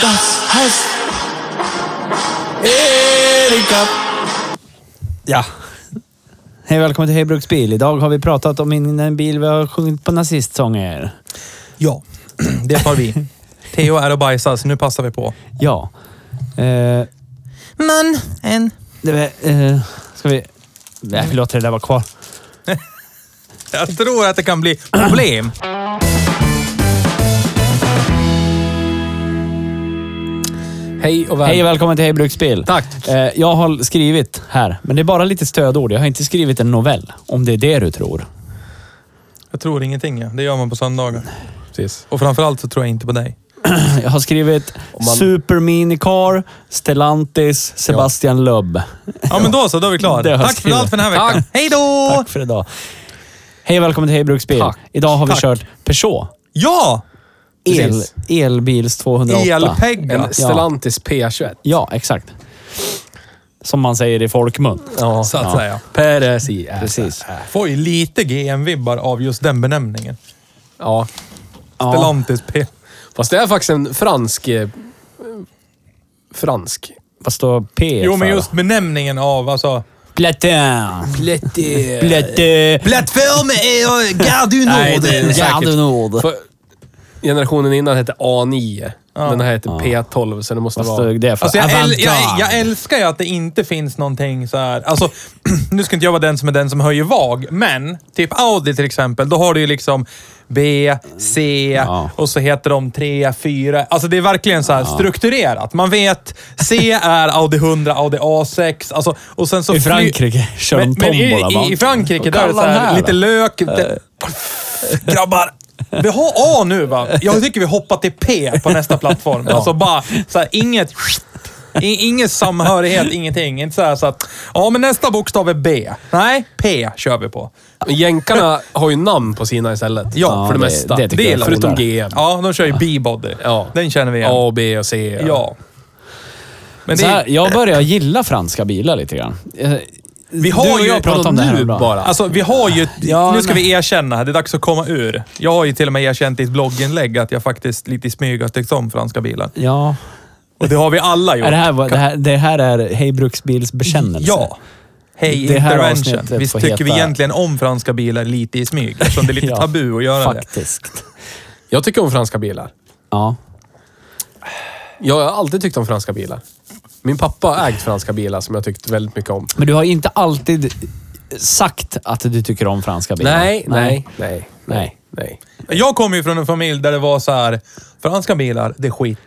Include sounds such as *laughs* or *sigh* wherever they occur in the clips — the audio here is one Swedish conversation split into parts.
Das heißt Erika. Ja. Hej välkommen till Hej Bruksbil. Idag har vi pratat om in- en bil vi har sjungit på nazistsånger. Ja, *clears throat* det tar vi. Theo är och bajsar, så nu passar vi på. Ja. Eh, Men en... det var, eh, ska vi... Nej, vi låter det där vara kvar. Jag tror att det kan bli problem. Hej Hej och välkommen. och välkommen till Hej Bruksbil. Tack. Eh, jag har skrivit här, men det är bara lite stödord. Jag har inte skrivit en novell, om det är det du tror. Jag tror ingenting, ja. det gör man på söndagar. Precis. Och framförallt så tror jag inte på dig. Jag har skrivit man- Super Minicar, Stellantis, Sebastian Loeb. Ja, men då så, då är vi Det klara. har jag Tack för allt för den här skrivit. veckan. Hej då! Tack för idag. Hej och välkommen till Hej Bruksbil. Tack. Idag har vi Tack. kört Peugeot. Ja! El, Precis. elbils 208. Elpegga. En Stellantis P21. Ja, exakt. Som man säger i folkmun. Ja, Så att säga. Precis. Precis. Får ju lite GM-vibbar av just den benämningen. Ja. Ja, Stellantis P. Fast det är faktiskt en fransk... eh, Fransk. vad står P Jo, men för? just benämningen av alltså... Platin. Plätte... Platin. Plattform är Nej, det är Gardunorden. säkert. Nord. För generationen innan hette A9. Den här heter P12, så det måste Vad vara... stod det för? Alltså jag, äl, Avantgarde. jag, jag älskar ju att det inte finns någonting så här. Alltså, *clears throat* nu ska inte jag vara den som är den som höjer vag, men typ Audi till exempel, då har du ju liksom B, C Ja. och så heter de 3, 4. Alltså det är verkligen så här strukturerat. Man vet, C är Audi 100, Audi A6. Alltså, och sen så I fly- Frankrike kör de Men, men i, tombola, va? Eh. i, i Frankrike, Och där är det så kallar den här, här, lite va? lök. Det, grabbar! Vi har A nu va? Jag tycker vi hoppar till P på nästa plattform. Alltså bara så här, inget... i- Ingen samhörighet, ingenting. Inte så här så att... Ja, men nästa bokstav är B. Nej, P kör vi på. Men Jänkarna har ju namn på sina istället. Ja, för det, det- mesta. det tycker jag är förutom coolare. GM. Ja, de kör ju B-body. Ja. Den känner vi igen. A, B och C. Ja. Men det, Så här, är- jag börjar gilla franska bilar lite grann. Eh, vi har du och ju... jag pratat om det här nu bra. bara. Alltså, vi har ju... Ja, nu ska nej. vi erkänna här. Det är dags att komma ur. Jag har ju till och med erkänt i ett blogginlägg att jag faktiskt lite i smyg har tyckt om franska bilar. Ja. Och det har vi alla gjort. Är det, här, vad- det, här, det här är Hej Bruksbils bekännelse. Ja. Hej Det här Intervention. avsnittet Visst får tycker vi heta- egentligen om franska bilar lite i smyg, eftersom det är lite *laughs* Ja, tabu att göra det. Faktiskt. Jag tycker om franska bilar. Ja. Jag har alltid tyckt om franska bilar. Min pappa har ägt franska bilar som jag tyckt väldigt mycket om. Men du har inte alltid sagt att du tycker om franska bilar. Nej, nej, nej, nej. nej, nej. Jag kommer ju från en familj där det var så här, franska bilar, det är skit.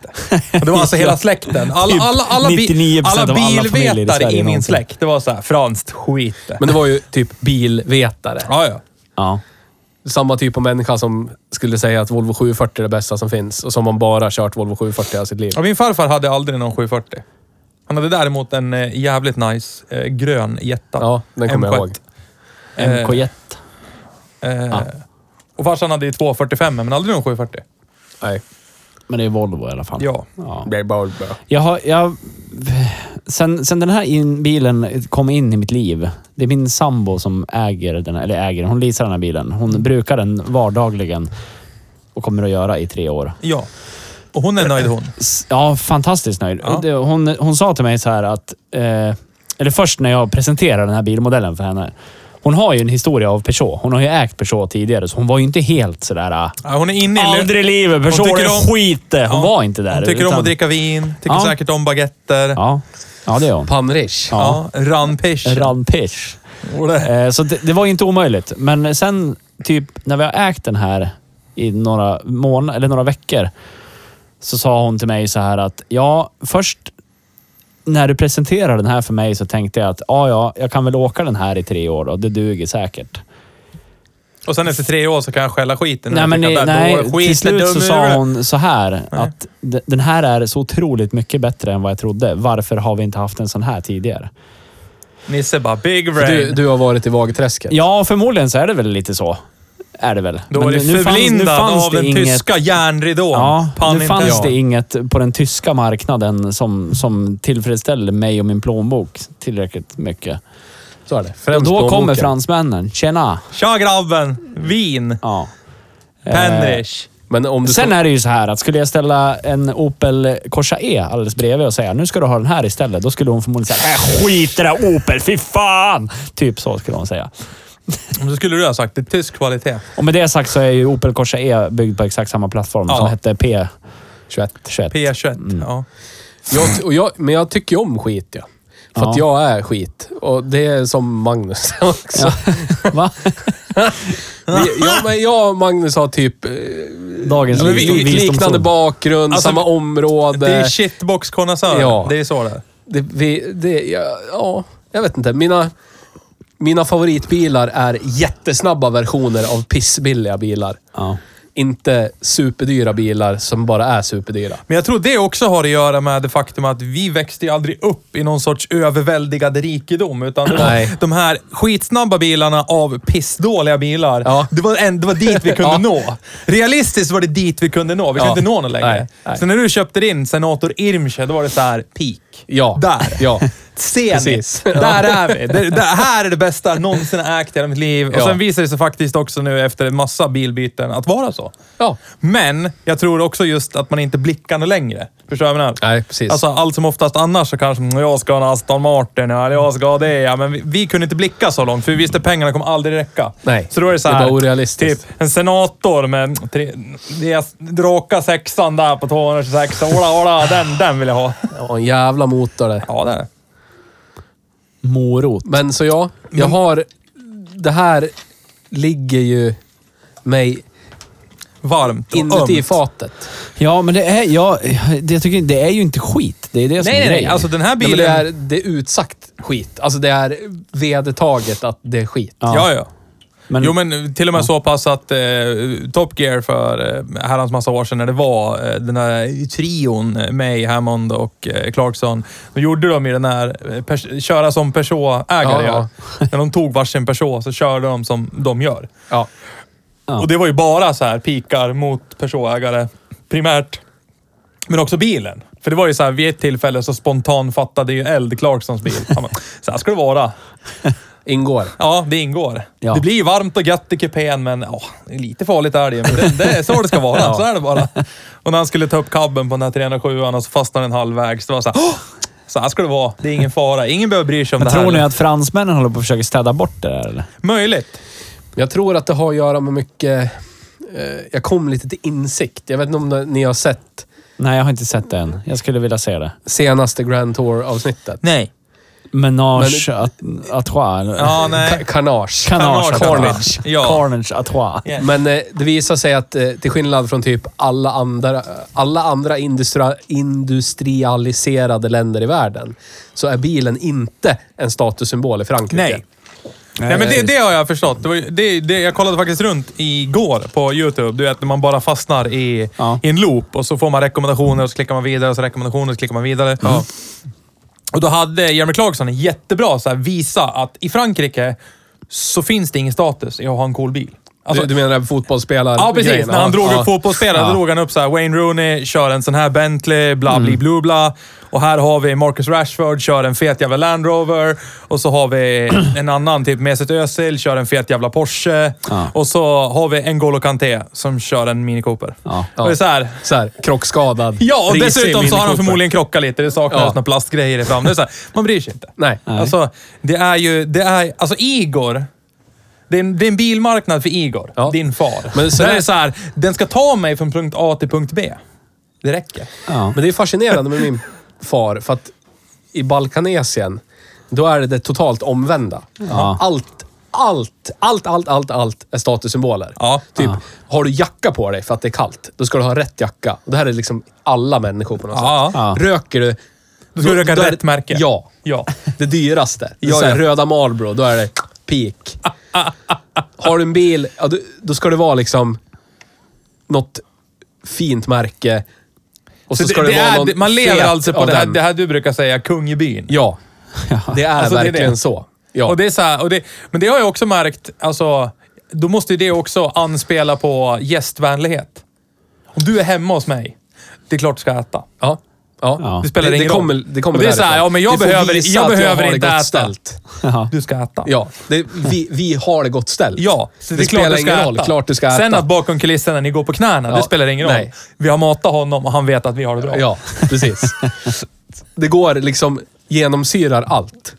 Och Det var alltså *laughs* hela släkten. Alla, Typ alla, alla, bi- 99% av alla alla familjer i bilvetare Sverige i, min någonsin. släkt, det var så här, franskt skit. Men det var ju typ bilvetare. ja, ja. Ja. Samma typ av människa som skulle säga att Volvo 740 är det bästa som finns och som man bara kört Volvo 740 hela sitt liv. Ja, min farfar hade aldrig någon 740. Han hade däremot en eh, jävligt nice eh, grön Jetta. Ja, den kommer jag M7. ihåg. MK1. Eh, Ah. Och farsan hade ju 245 men aldrig någon 740. Nej. Men det är Volvo i alla fall. Ja. ja. Det är bara- bara- Jag har... Jag, sen, sen den här in, bilen kom in i mitt liv. Det är min sambo som äger den, här- eller äger, hon leasar den här bilen. Mm. Hon brukar den vardagligen och kommer att göra i tre år. Ja. Och hon är nöjd hon. S- Ja, fantastiskt nöjd. Ja. Det- Hon, hon sa till mig så här att eh, Eller först när jag presenterade den här bilmodellen för henne. Hon har ju en historia av Peugeot. Hon har ju ägt Peugeot tidigare, så hon var ju inte helt sådär... äh, Ja, hon är inne i... Aldrig i livet! Peugeot tycker är om- skit! Hon Ja. var inte där. Hon tycker om utan- att dricka vin, tycker Ja. säkert om baguetter. Ja. Ja, ja det gör hon. Panrish. Ja. Ranpish. Rampage. Eh, Så det, det var ju inte omöjligt. Men sen, typ när vi har ägt den här i några månader, eller några veckor, så sa hon till mig så här att ja, först när du presenterade den här för mig så tänkte jag att ja, ja, jag kan väl åka den här i tre år och det duger säkert. Och sen efter tre år så kan jag skälla skiten. Nej, Jag men tycker i- att det här nej, dåligt skit, till slut dum så i sa huvudet. hon så här att "D- den här är så otroligt mycket bättre än vad jag trodde. Varför har vi inte haft en sån här tidigare? Nisse bara, big brain. Du, du har varit i Vagträsket. Ja, förmodligen så är det väl lite så. Är det väl. Då var det förblindad av den tyska järnridån. Ja, Pan nu fanns inte- det inget på den tyska marknaden som, som tillfredsställde mig och min plånbok tillräckligt mycket. Så är det. Och Främst då plånboken. kommer fransmännen. Tjena! Tja grabben! Vin! Ja. Penrich! Men om du Sen tar- är det ju så här att skulle jag ställa en Opel Corsa E alldeles bredvid och säga nu ska du ha den här istället. Då skulle hon förmodligen säga äh, skit i det där Opel, fy fan! Typ så skulle hon säga. Då skulle du ha sagt det är tysk kvalitet. Och med det sagt så är ju Opel Corsa E byggd på exakt samma plattform Ja. som hette P... 21. P21. P21. Ja. Jag, ty- och jag, men jag tycker ju om skit, ja. För att Ja. jag är skit. Och det är som Magnus *laughs* också. Ja. Va? Vi, jag, men jag och Magnus har typ eh, Dagens vi, visdom- liknande visdomsord. bakgrund, Alltså, samma område. Det är shitbox-konnässörer. Ja. Det är så det är. Det, vi, det, ja, ja, jag vet inte. Mina, mina favoritbilar är jättesnabba versioner av pissbilliga bilar. Ja. Inte superdyra bilar som bara är superdyra. Men jag tror det också har att göra med det faktum att vi växte ju aldrig upp i någon sorts överväldigad rikedom. Utan det Nej. var de här skitsnabba bilarna av pissdåliga bilar. Ja. Det, var en, det var dit vi kunde *laughs* Ja. nå. Realistiskt var det dit vi kunde nå. Vi kunde Ja. inte nå någon längre. Nej, nej. Så när du köpte din Senator Irmsche, då var det så här peak. Ja. Där. Ja. Zenit. Precis. *laughs* Där är vi. Det, det här är det bästa jag någonsin har ägt i hela mitt liv. Och Ja. sen visar det sig faktiskt också nu efter en massa bilbyten att vara så. ja. Men jag tror också just att man inte blickar något längre. Förstår du vad jag menar? Nej, precis. Alltså allt som oftast annars så kanske "Mm, jag ska ha en Aston Martin, ja, eller jag ska ha det. Ja. Men vi, vi kunde inte blicka så långt för vi visste att pengarna kommer aldrig räcka. Nej, så då är det så det här. var orealistiskt. Typ en senator med tre, det är- raka sexan där på 226. Ola, ola, den, den vill jag ha. Ja, en jävla motor det. Ja, det är det. Morot. Men så ja, jag har... Det här ligger ju mig Varmt och inuti ömt. fatet. Ja, men det är, ja, det, jag tycker, det är ju inte skit. Det är det som Nej, är nej, nej. grejen. Alltså den här Nej, bilen... men det, är, det är utsagt skit. Alltså det är vedertaget att det är skit. Ja. Ja, ja. men, Jo, men till och med så pass att eh, Top Gear för eh, herrans massa år sedan när det var eh, den här trion, eh, May, Hammond och eh, Clarkson. Då gjorde de ju den här eh, pers- köra som Peugeot-ägare Ja, gör. När de tog varsin Peugeot så körde de som de gör. Ja. Ja. Och det var ju bara så här pikar mot Peugeot-ägare primärt. Men också bilen. För det var ju så här, vid ett tillfälle så spontan fattade ju eld Clarksons bil. Han bara, Så här ska det vara. Ingår. Ja, det ingår. Ja. Det blir varmt och gött i kupén, men åh, det är lite farligt är det ju. Men det, det är så det ska vara. *laughs* Så är det bara. Och när han skulle ta upp kabben på den här 307 och så fastnade den halvvägs. Det var så här, åh, så här ska det vara. Det är ingen fara. Ingen behöver bry sig om det här. tror ni att fransmännen håller på att försöka städa bort det där eller? Möjligt. Jag tror att det har att göra med mycket... Eh, jag kom lite till insikt. Jag vet inte om ni har sett Nej, jag har inte sett det än. Jag skulle vilja se det. senaste Grand Tour-avsnittet. Nej. Menage à trois. eller? Ja, nej. *laughs* Ka- Carnage. Carnage. Carnage. Ja. Carnage à trois. Ja. Men eh, det visar sig att eh, till skillnad från typ alla andra, alla andra industri- industrialiserade länder i världen så är bilen inte en statussymbol i Frankrike. Nej. Nej, men det, det har jag förstått. Det var, ju- det, det, jag kollade faktiskt runt igår på YouTube. Du vet, när man bara fastnar i, Ja. i en loop och så får man rekommendationer och så klickar man vidare och så rekommendationer och så klickar man vidare. Och då hade Jeremy Clarkson en jättebra så här, visa att i Frankrike så finns det ingen status i att ha en cool bil. Alltså- du, du menar fotbollsspelare Ja, precis. grejen, När han ja. drog Alltså, Ja. upp fotbollsspelare, då drog han upp så här. Wayne Rooney kör en sån här Bentley, bla Mm. bli blu bla. Och här har vi Marcus Rashford, kör en fet jävla Land Rover. Och så har *clears throat* vi en annan, typ Mesut Özil, kör en fet jävla Porsche. Ja. Och så har vi N'Golo Kanté som kör en Mini Cooper. Ja. Och det är så här. Så här, krockskadad. Ja, och risig dessutom så har Mini de Cooper. förmodligen krockat lite. Det saknas Ja. några plastgrejer i fram. Det är så här, man bryr sig inte. Nej. Alltså, det är ju... Det är, alltså Igor. Det är, en, det är en bilmarknad för Igor, Ja. din far. Men Men så så Där det- är det så här, den ska ta mig från punkt A till punkt B. Det räcker. Ja. Men det är fascinerande med min far, för att i Balkanesien, då är det det totalt omvända. Ja. Allt, allt, allt, allt, allt, allt är statussymboler. Ja. Typ, Ja. har du jacka på dig för att det är kallt, då ska du ha rätt jacka. Och Det här är liksom alla människor på något Ja. sätt. Ja. Röker du... Då ska du röka då är- rätt märke. Ja. Ja. Det dyraste. Det är Ja, så här, ja. Röda Marlboro, då är det peak. Har du en bil, ja, då, då ska det vara liksom något fint märke. Och så, Så ska det, det, det vara är, någon man lever fet alltså på av det här, den. det här du brukar säga, kung i byn. Ja, det är Alltså, det är verkligen det. så. Ja. Och det är så här, och det, men det har jag också märkt, alltså, då måste ju det också anspela på gästvänlighet. Om du är hemma hos mig, det är klart du ska äta. ja. Ja. Ja. Det spelar det, ingen det kommer, roll. Det kommer och det är så här, därifrån. ja men jag Det får behöver, visa jag att behöver har det inte gott äta. Ställt. Ja. Du ska äta. Ja, det, vi, vi har det gott ställt. Ja, så det, är klart spelar du ska ingen äta. roll. Klart du ska Sen äta. att bakom kulisserna ni går på knäna, Ja, det spelar ingen roll. nej. Vi har matat honom och han vet att vi har det bra. Ja, precis. Det går liksom, genomsyrar allt.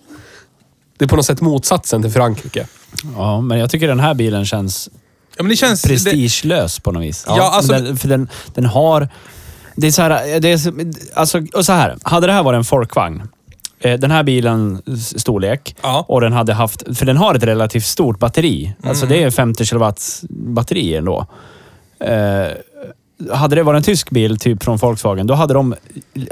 Det är på något sätt motsatsen till Frankrike. ja, men jag tycker den här bilen känns Ja, men det känns... Det, prestigelös på något vis. Ja, Men alltså- den, för den, den har... Det är så här, det är, så- alltså, och så här. Hade det här varit en folkvagn, eh, den här bilens storlek Ja. och den hade haft... För den har ett relativt stort batteri. Alltså Mm. det är 50 kilowatts batteri ändå. Eh, hade det varit en tysk bil, typ från Volkswagen, då hade de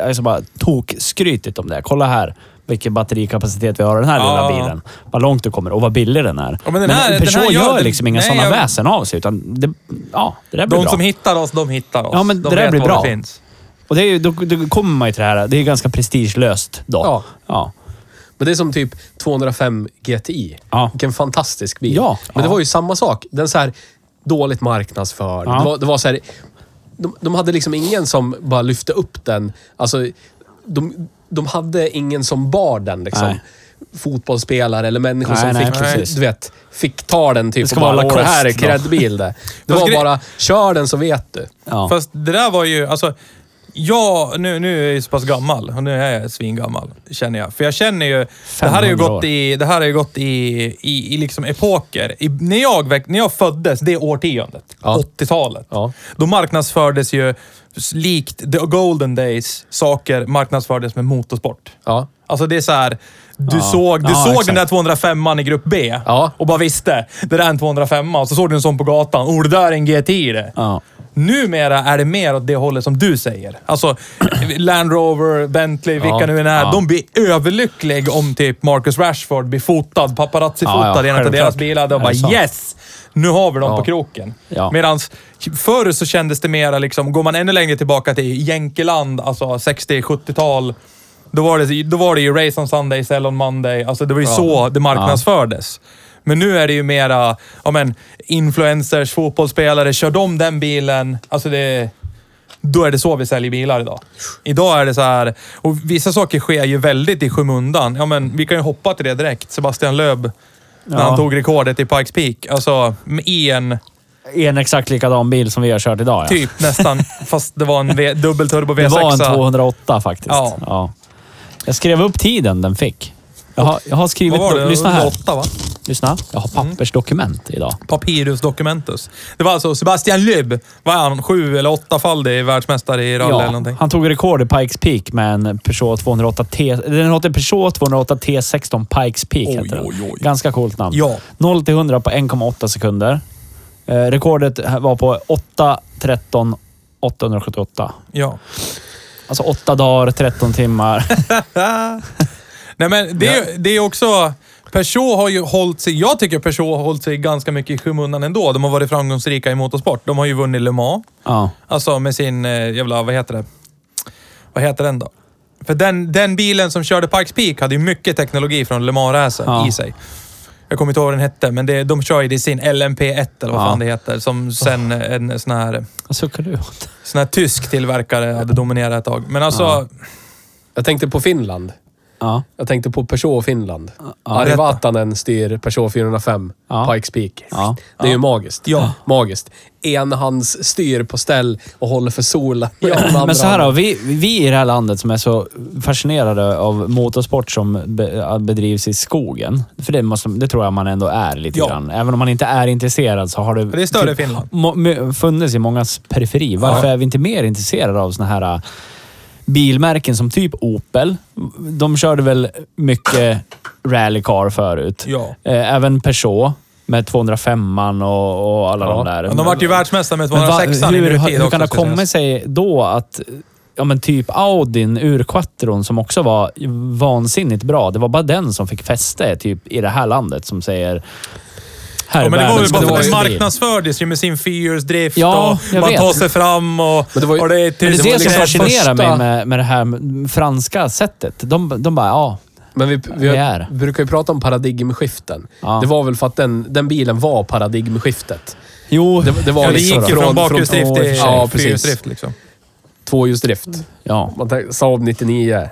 alltså bara tokskrytit om det. Kolla här vilken batterikapacitet vi har i den här Ja. lilla bilen. Vad långt du kommer och vad billig den är. Ja, men den här- den Peugeot här gör- gör liksom inga nej, sådana jag- väsen av sig. Utan det, ja, det där blir de bra. som hittar oss, de hittar oss. Ja, men de det där vet blir var bra. Det finns. Och det är ju, då, då kommer man ju till det här. Det är ganska prestigelöst då. Ja. Ja. Men det är som typ 205 GTI. Ja. Vilken fantastisk bil. Ja. Men det Ja. var ju samma sak. Den så här dåligt marknadsförd. Ja. Det, var, det var så här... De, de hade liksom ingen som bara lyfte upp den. Alltså, de, de hade ingen som bar den liksom. Nej. Fotbollsspelare eller människor Nej, som nej, fick, precis. du vet, fick ta den typ ska och vara bara, "Åh, det här är Lacoste då." *laughs* credbil det. Det Fast var gre- bara, kör den så vet du. Ja. Fast det där var ju, alltså, jag, nu, nu är jag ju så pass gammal och nu är jag svingammal, känner jag. För jag känner ju, det här har ju 500 gått år. i, det här har ju gått i, i, i liksom epoker. I, när, jag, väck- när jag föddes, det årtiondet, Ja. 80-talet, Ja. då marknadsfördes ju, likt the golden days, saker marknadsfördes med motorsport. Ja. Alltså det är så här, du Ja. såg, du Ja, såg exakt. den där 205an i grupp B Ja. och bara visste, det där är en 205 och så såg du en sån på gatan. Oh, det där är en GTI det. Ja. Numera är det mer åt det hållet som du säger. Alltså, *clears throat* Land Rover, Bentley, vilka Ja, nu än är. ja. De blir överlyckliga om typ Marcus Rashford blir fotad, Ja, paparazzi-fotad ja, i en av självklart. deras bilar. De Är det bara sant? yes! Nu har vi dem på kroken. Liksom. Ja. Medan förr så kändes det mera liksom, går man ännu längre tillbaka till jänkeland, alltså 60-70-tal. Då var, det, då var det ju Race on Sunday, Sell on Monday. Alltså det var ju så det marknadsfördes. Men nu är det ju mera, ja men, influencers, fotbollsspelare, kör de den bilen? Alltså det... Då är det så vi säljer bilar idag. Idag är det så här, och vissa saker sker ju väldigt i skymundan. Ja men, vi kan ju hoppa till det direkt. Sebastian Löb när Ja. han tog rekordet i Pikes Peak. Alltså, i en... I en exakt likadan bil som vi har kört idag. Ja. Typ *laughs* nästan, fast det var en v, dubbelturbo V6. Det var en 208 faktiskt. Ja. Ja. Jag skrev upp tiden den fick. Jag har, jag har skrivit... Vad var det? Mm. Lyssna här. 108, va? Lyssna. Jag har pappersdokument idag. Papyrus Documentus. Det var alltså Sebastian Löb. Vad är han? Sju eller åttafaldig världsmästare i rally eller någonting. han tog rekord i Pikes Peak med en Peugeot 208 T... Den hette Peugeot 208 T16 Pikes Peak. Oj, heter den. oj, oj. Ganska coolt namn. Ja. 0 till 100 på 1,8 sekunder. Eh, rekordet var på 8, 13, 878. Ja. Alltså 8 dagar, *laughs* 13 timmar. Nej, men det, är det är också... Peugeot har ju hållit sig... Jag tycker Peugeot har hållit sig ganska mycket i skymundan ändå. De har varit framgångsrika i motorsport. De har ju vunnit Le Mans. ja. Alltså med sin eh, jävla... Vad heter det? Vad heter den då? För den, den bilen som körde Pikes Peak hade ju mycket teknologi från Le Mans-racen Ja. i sig. Jag kommer inte ihåg vad den hette, men det, de kör ju det i sin LMP1 eller vad Ja. fan det heter. Som sen en sån här, Vad suckar du åt? sån här tysk tillverkare hade dominerat ett tag. Men alltså, Jag tänkte på Finland. Ja. Jag tänkte på Peugeot Finland. berätta. Arvatanen styr Peugeot 405. Ja. Pikes Peak. Ja. Det är ju magiskt. Ja. Magiskt. Enhandsstyr på ställ och håller för solen. *laughs* *laughs* Men så här då, vi, vi i det här landet som är så fascinerade av motorsport som be, bedrivs i skogen. För det, måste, det tror jag man ändå är lite Ja. grann. Även om man inte är intresserad så har det... typ det är större i Finland. må- mö- funnits i mångas periferi. Varför Ja. är vi inte mer intresserade av såna här äh, bilmärken som typ Opel? De körde väl mycket rallycar förut. Ja. Eh, Även Peugeot med 205an och, och alla Ja. de där. de vart ju världsmästare med Men va- 206 hur, nutid hur också, kan det ska komma sägas. sig då att ja, men typ Audin ur Quattron som också var vansinnigt bra. Det var bara den som fick fäste typ, i det här landet som säger... Här Ja, är men det var väl världens bara för att den bästa bil. marknadsfördes ju med sin fyrhjulsdrift Ja, och jag man vet. tar sig fram och... Men det var ju- och är Men det är det, var som liksom fascinerar första- mig med, med det här franska sättet. De, de bara, ja. Men vi, vi Det är. brukar ju prata om paradigmskiften. Ja. Det var väl för att den, den bilen var paradigmskiftet. Jo. Det, det var Ja, det liksom gick ju från två- bakhjulsdrift till ja, precis. fyrhjulsdrift liksom. tvåhjulsdrift. Ja. Man tänker, Saab 99.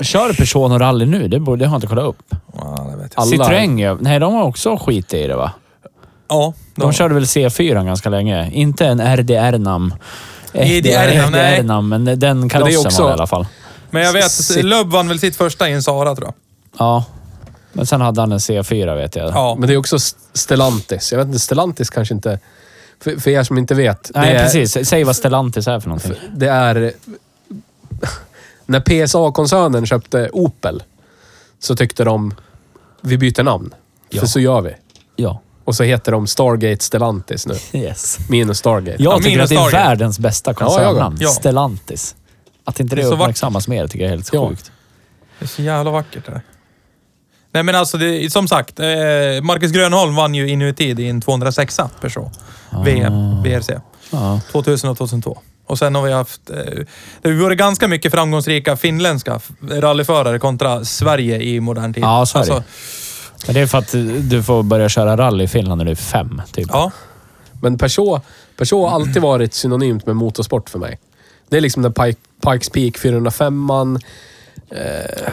Kör Peugeot och rally nu? Det, borde, det har jag inte kollat upp. Ja, det vet jag. Alla- Citroën, ja. nej de har också skit i det va? Ja, De körde väl C4 ganska länge. Inte en RDR-nam. RDR-nam, nej. RDR-nam, men den Men det karossen är också- var det i alla fall. Men jag Sitt- vet, Löb vann väl sitt första i en Sara tror jag. Ja. Men sen hade han en C4 vet jag. Ja. Men det är också St- Stellantis. Jag vet inte, Stellantis kanske inte... För, för er som inte vet. nej, det, är, precis. Säg vad Stellantis är för någonting. Typ. det är... När PSA-koncernen köpte Opel så tyckte de vi byter namn. För så gör vi. Ja. Och så heter de Stargate Stellantis nu. Yes. Minus Stargate. Jag Ja, tycker minus att det är Stargate. världens bästa koncernnamn. Ja. Stellantis. Att inte det, Det är så uppmärksammas mer tycker jag är helt Ja. sjukt. Det är så jävla vackert det där. Nej men alltså, det, som sagt. Eh, Marcus Grönholm vann ju inuti i en 206 Peugeot. VM, VRC. Ja. 2000 och 2002. Och sen har vi haft... Eh, det har varit ganska mycket framgångsrika finländska f- rallyförare kontra Sverige i modern tid. Alltså, Ja, så är det. Men det är för att du får börja köra rally i Finland när du är fem, typ. ja. Men Peugeot, Peugeot har alltid varit synonymt med motorsport för mig. Det är liksom den Pike, Pikes Peak 405an. Eh,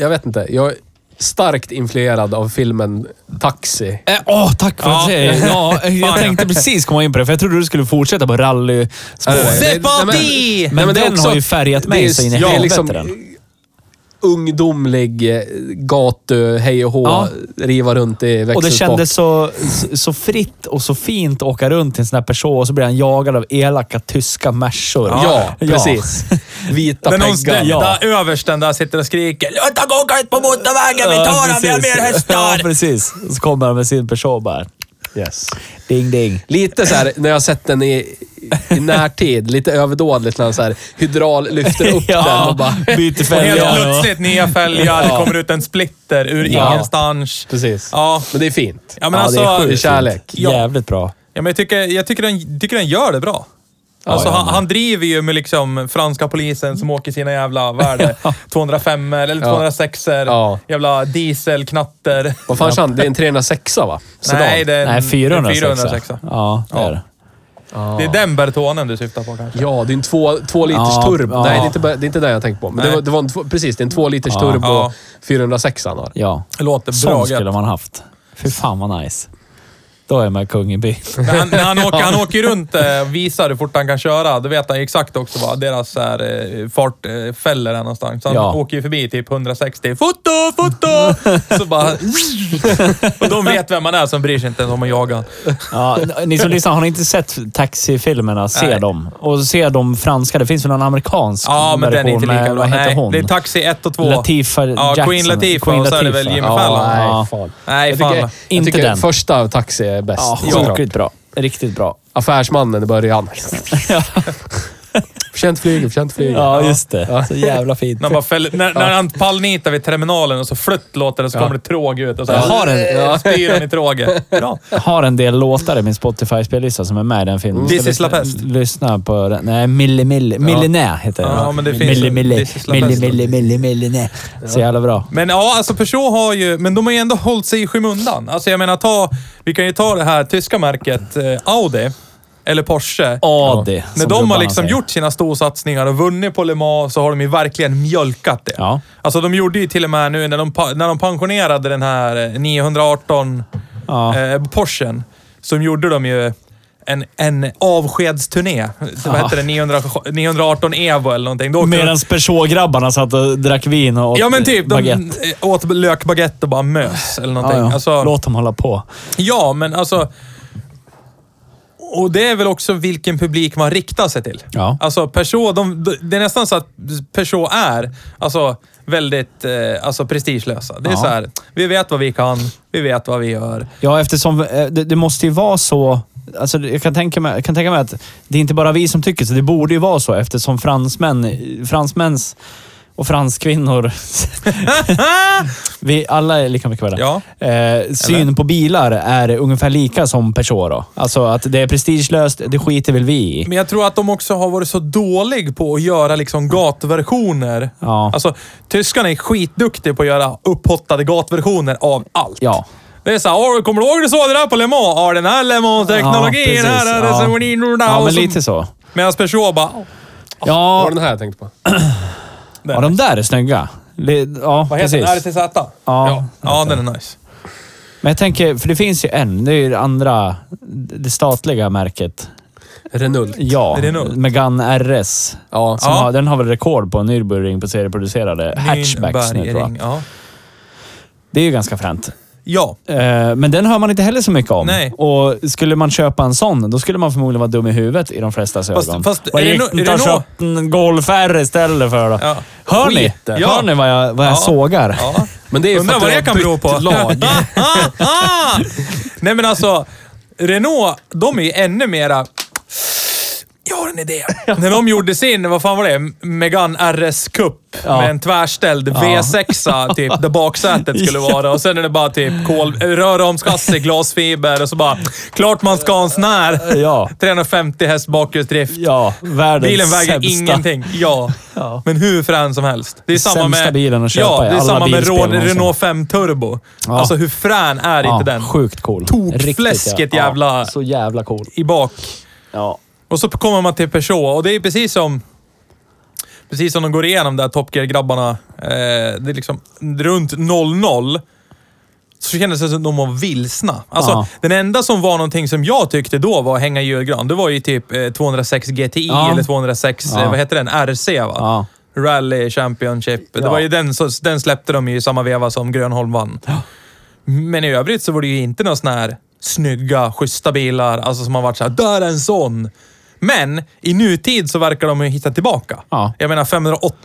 jag vet inte. Jag är starkt influerad av filmen Taxi. Äh, Åh, tack för Ja. att du säger. *laughs* Ja, jag Fan, tänkte precis komma in på det, för jag trodde du skulle fortsätta på rally Sepp Nej, men- Aldi! Men det är den har ju färgat mig det är så in i det är helvete, liksom den. Ungdomlig, eh, gatu, hej och hå, Ja. riva runt i växeln Och det kändes så, så fritt och så fint att åka runt i en sån här person och så blir han jagad av elaka tyska märsor. Ja, precis. *laughs* Vita Den peggar. omställda Ja. översten där sitter och skriker “Låt oss åka ut på motorvägen, vi tar dem, vi har mer Ja, hästar!” precis. Och så kommer han med sin person och bara. Yes. Ding, ding. Lite så här, när jag har sett den i, i närtid, lite överdådligt när han så här hydral lyfter *laughs* upp den och bara... byter Och helt fälgar. och- plötsligt nya fälgar, det kommer ut en splitter ur Ja. ingenstans. Precis. Ja. Men det är fint. Ja, men Ja, alltså, det är sjukt det är kärlek. fint. Jävligt bra. Ja, men jag tycker, jag tycker, den, tycker den gör det bra. Alltså, ja, han, men- han driver ju med liksom franska polisen som åker sina jävla värde. 205 eller Ja. 206 er Ja. jävla dieselknatter. Vad fan sa han? Det är en 306 va? Sedan. Nej, det är en, Nej, 406. en 406. Ja, det Ja. är det. Det är den Bertonen du syftar på kanske. Ja, det är en två, två liters Ja, turbo. ja. Nej, det är, inte, bara- det är inte det jag tänkte på. Men det Nej. var, det var en två, precis, det är en två liters turbo Ja. 406 han har. Ja. Det låter bra Sån gött. skulle man haft. Fy fan vad nice. Då är man kung i byn. Men han, när han, åker, han åker runt eh, och visar hur fort han kan köra. Då vet han ju exakt också vad deras så här, eh, fartfällor är någonstans. Så han Ja. åker ju förbi typ 160. Foto, foto! Så bara... Och de vet vem man är som bryr sig inte ens om att jaga honom. *laughs* Ja, *laughs* ni som lyssnar, har ni inte sett Taxi-filmerna, se Nej. dem. Och se de franska. Det finns väl någon amerikansk Ja, men den är inte lika med- bra. Vad heter Nej, hon? det är Taxi 1 och 2. Latifa Ja, Jackson. Queen Latifah Queen och så är det Latifah. väl Jimmy Ja, Fallon. nej, Ja. fan. Nej, jag fan. tycker, jag Inte tycker den. första Taxi är bäst. Alltså, Ja, såklart. sjukt bra. Riktigt bra. Affärsmannen i början. *laughs* Förtjänt flyger, förtjänt flyger. Ja, just det. Ja. Så jävla fint. När, han bara fäller, när, när han pallnitar vid terminalen och så flutt låter det så Ja. kommer det tråg ut. Och så Jag har en. *laughs* Ja, spyr han i tråget. Bra. Jag har en del låtar i min Spotify-spellista som är med i den filmen. This Så is La lyssna- Peste. Lyssna på den. Nej, Mille Mille. Millenär heter den. Ja, men det finns Mille en- Mille. This is La Mille Peste. Mille Mille Millenär. Så jävla bra. Men ja, alltså Peugeot har ju... Men de har ju ändå hållit sig i skymundan. Alltså jag menar, ta, vi kan ju ta det här tyska märket eh, Audi, eller Porsche. Adi. När som de har gubbarna liksom säger. gjort sina storsatsningar och vunnit på Le Mans så har de ju verkligen mjölkat det. Ja. Alltså de gjorde ju till och med nu när de, pa- när de pensionerade den här eh, 918 Ja. eh, Porschen, som gjorde de ju en, en avskedsturné. Vad hette det? 900, 918 Evo eller någonting. Då åkte de- Medan Peugeot-grabbarna satt och drack vin och åt Ja men typ, de baguette. eh, åt lökbaguette och bara mös eller någonting. Ja, ja. Alltså, Låt dem hålla på. ja, men alltså... Och det är väl också vilken publik man riktar sig till. Ja. Alltså Peugeot, de, de- det är nästan så att Peugeot är alltså, väldigt eh, alltså, prestigelösa. Det är Ja. så här, vi vet vad vi kan, vi vet vad vi *laughs* gör. Ja, eftersom eh, det, det måste ju vara så... Alltså, det- jag, kan tänka mig, jag kan tänka mig att det är inte bara vi som tycker så. Det borde ju vara så eftersom fransmän, fransmäns och franskvinnor, *laughs* Ah! vi alla är lika mycket värda. Ja. Eh, syn på bilar är ungefär lika som Peugeot då. Alltså att det är prestigelöst, det skiter väl vi i. Men jag tror att de också har varit så dålig på att göra liksom gatversioner. Ja. Alltså, tyskarna är skitduktiga på att göra upphottade gatversioner av allt. Ja. Det är såhär, "Åh, kommer du ihåg du såg det där på Le Mans? Ja, den här Le Mans-teknologin. Ja, den precis. här är det som- ja. alltså- ja, men lite så. Medan Peugeot bara... Det Ja, var den här jag tänkte på. ja de där är snygga. Li- Ja, Vad heter precis. den? RTZ? Ja. Ja. ja, den är nice. Men jag tänker, för det finns ju en. Det är ju det andra, det statliga märket. Renault. Ja, Är det något? Megane RS. Ja. Som Ja. har, den har väl rekord på Nürburgring på serieproducerade hatchbacks nu tror jag. Nürnbergring, Ja. Det är ju ganska fränt. ja. Eh, Men den hör man inte heller så mycket om. Nej. Och skulle man köpa en sån, då skulle man förmodligen vara dum i huvudet i de flesta Fast- ögon. fast Vad är det gick no- det är inte det att no- köpa en Golf R istället för då? Ja. Hör ni? Skiten. Ja. Hör ni vad jag, vad jag Ja. sågar? *laughs* ja. Men det är ju för Undrar att vad du det har kan bero bytt på. lag. *laughs* Nej men alltså, Renault, de är ju ännu mera... Jag har en idé. När de gjorde sin, vad fan var det? Megane RS Cup Ja. med en tvärställd V6 typ, där baksätet *laughs* skulle vara. Och sen är det bara typ kol, röromskassi, glasfiber och så bara... Klart man ska ha en sån här. Ja. 350 häst bakhjulsdrift. Ja, världens Bilen väger sämsta. *laughs* ingenting. Ja. Ja. Men hur frän som helst. Det är samma sämsta med, bilen att köpa ja, i det är alla samma med bilspel Renault, någonsin. Renault 5 Turbo. Ja. Alltså hur frän är Ja, inte den? Sjukt cool. Tokfläsket Riktigt, ja. jävla- Ja, så jävla cool. I bak. Ja. Och så kommer man till Peugeot och det är precis som... Precis som de går igenom där Top Gear-grabbarna. Eh, det är liksom runt 00. Så kändes det som att de var vilsna. Alltså, Ja. den enda som var någonting som jag tyckte då var att hänga i julgran, det var ju typ eh, 206 GTI Ja. eller 206, Ja. eh, vad heter den? RC va? Ja. Rally Championship. Det Ja. var ju den, så, den släppte de ju i samma veva som Grönholm vann. Men i övrigt så var det ju inte några sådana här snygga, schyssta bilar, alltså som har varit såhär, där är en sån. Men i nutid så verkar de ju hitta tillbaka. Ja. Jag menar 508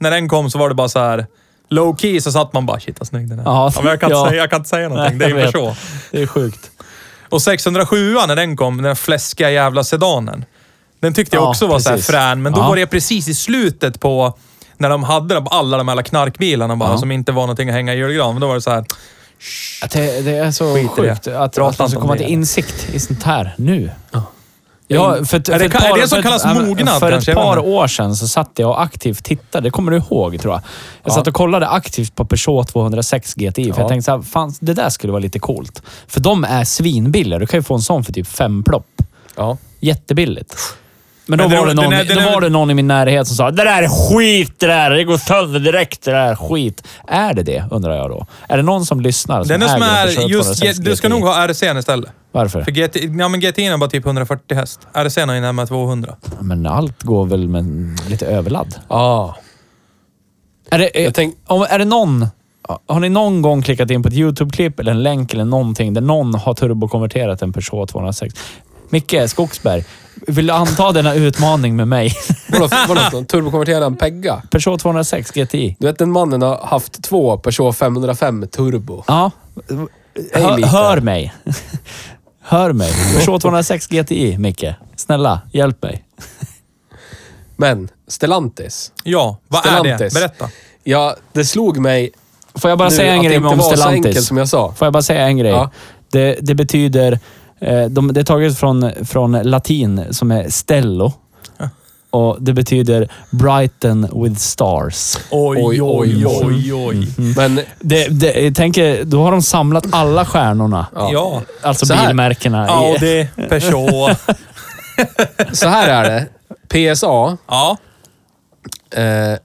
när den kom så var det bara så här low key så satt man bara, shit vad snygg den är. Ja. men jag, kan Ja. inte säga, jag kan inte säga någonting, Nej, det är jag ju så. vet. Det är sjukt. Och 607 när den kom, den fläskiga jävla sedanen. Den tyckte jag Ja, också var så här precis. frän, men då Ja. var det precis i slutet på när de hade alla de här knarkbilarna bara, Ja. som inte var någonting att hänga i julgran. Men då var det så här, Att det, det är så Skit i det. sjukt Prata att, att man inte ska om komma det till igen. insikt i sånt här nu. Ja, för, ett- Är det- för ett par- är det som för ett- kallas ja, men mognad För kanske? ett Jag vet par inte. år sedan så satt jag och aktivt tittade. Det kommer du ihåg tror jag. Jag satt och kollade aktivt på Peugeot 206 GTI. För Ja. jag tänkte så här, fan det där skulle vara lite coolt. För de är svinbilliga. Du kan ju få en sån för typ fem plopp. Ja. Jättebilligt. Men då, Men det- var, det någon, den är- den då är- var det någon i min närhet som sa det där är skit det där. Det går sönder direkt det där skit. Är det det undrar jag då? Är det någon som lyssnar som den är som äger en är Peugeot just, 206 du ska GTI? nog ha RC'n istället. Varför? För GT, ja, men GTI'n är bara typ 140 häst. RC'n har ju närmare 200. Men allt går väl med lite överladd? Ah. Är det, är, Jag tänk- om, är det någon... Har ni någon gång klickat in på ett YouTube-klipp eller en länk eller någonting där någon har turbokonverterat en Peugeot 206? Micke Skogsberg, vill du anta denna utmaning med mig? *laughs* Vadå, vadå för någon? Turbokonverterade en Pegga? Peugeot 206 GTI. Du vet den mannen har haft två Peugeot 505 turbo. Ja. Hej, Hör, Mikael. hör *laughs* mig. Hör mig. Peugeot 206 GTI, Micke. Snälla, hjälp mig. Men Stellantis. Ja, vad är det? Stellantis. Berätta. Ja, det slog mig Får jag bara nu säga en att det grej inte om var så enkelt Stellantis? som jag sa. Får jag bara säga en grej? Ja. Det, det betyder... Eh, de, det är taget från, från latin som är stello. Och det betyder Brighton with stars. Oj, Oj, oj, oj, oj, oj. Mm. Men Det, det, jag tänker, då har de samlat alla stjärnorna. Ja. Alltså Så här. bilmärkena. i- Audi, Peugeot. så här är det. PSA. Ja. Eh,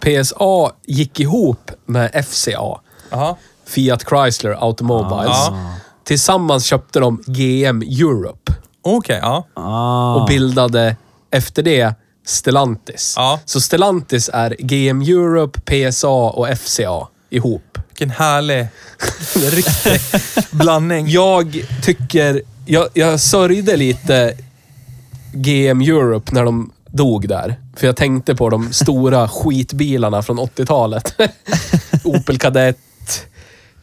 PSA gick ihop med FCA. Aha. Fiat Chrysler Automobiles. Ah. Ja. Tillsammans köpte de GM Europe Okej, ja. Ah. och bildade efter det Stellantis. Ah. Ja. Så Stellantis är GM Europe, PSA och FCA ihop. Vilken härlig riktig blandning. Jag tycker... Jag, jag sörjde lite GM Europe när de dog där. För jag tänkte på *laughs* de stora skitbilarna från 80-talet. *laughs* Opel Kadett,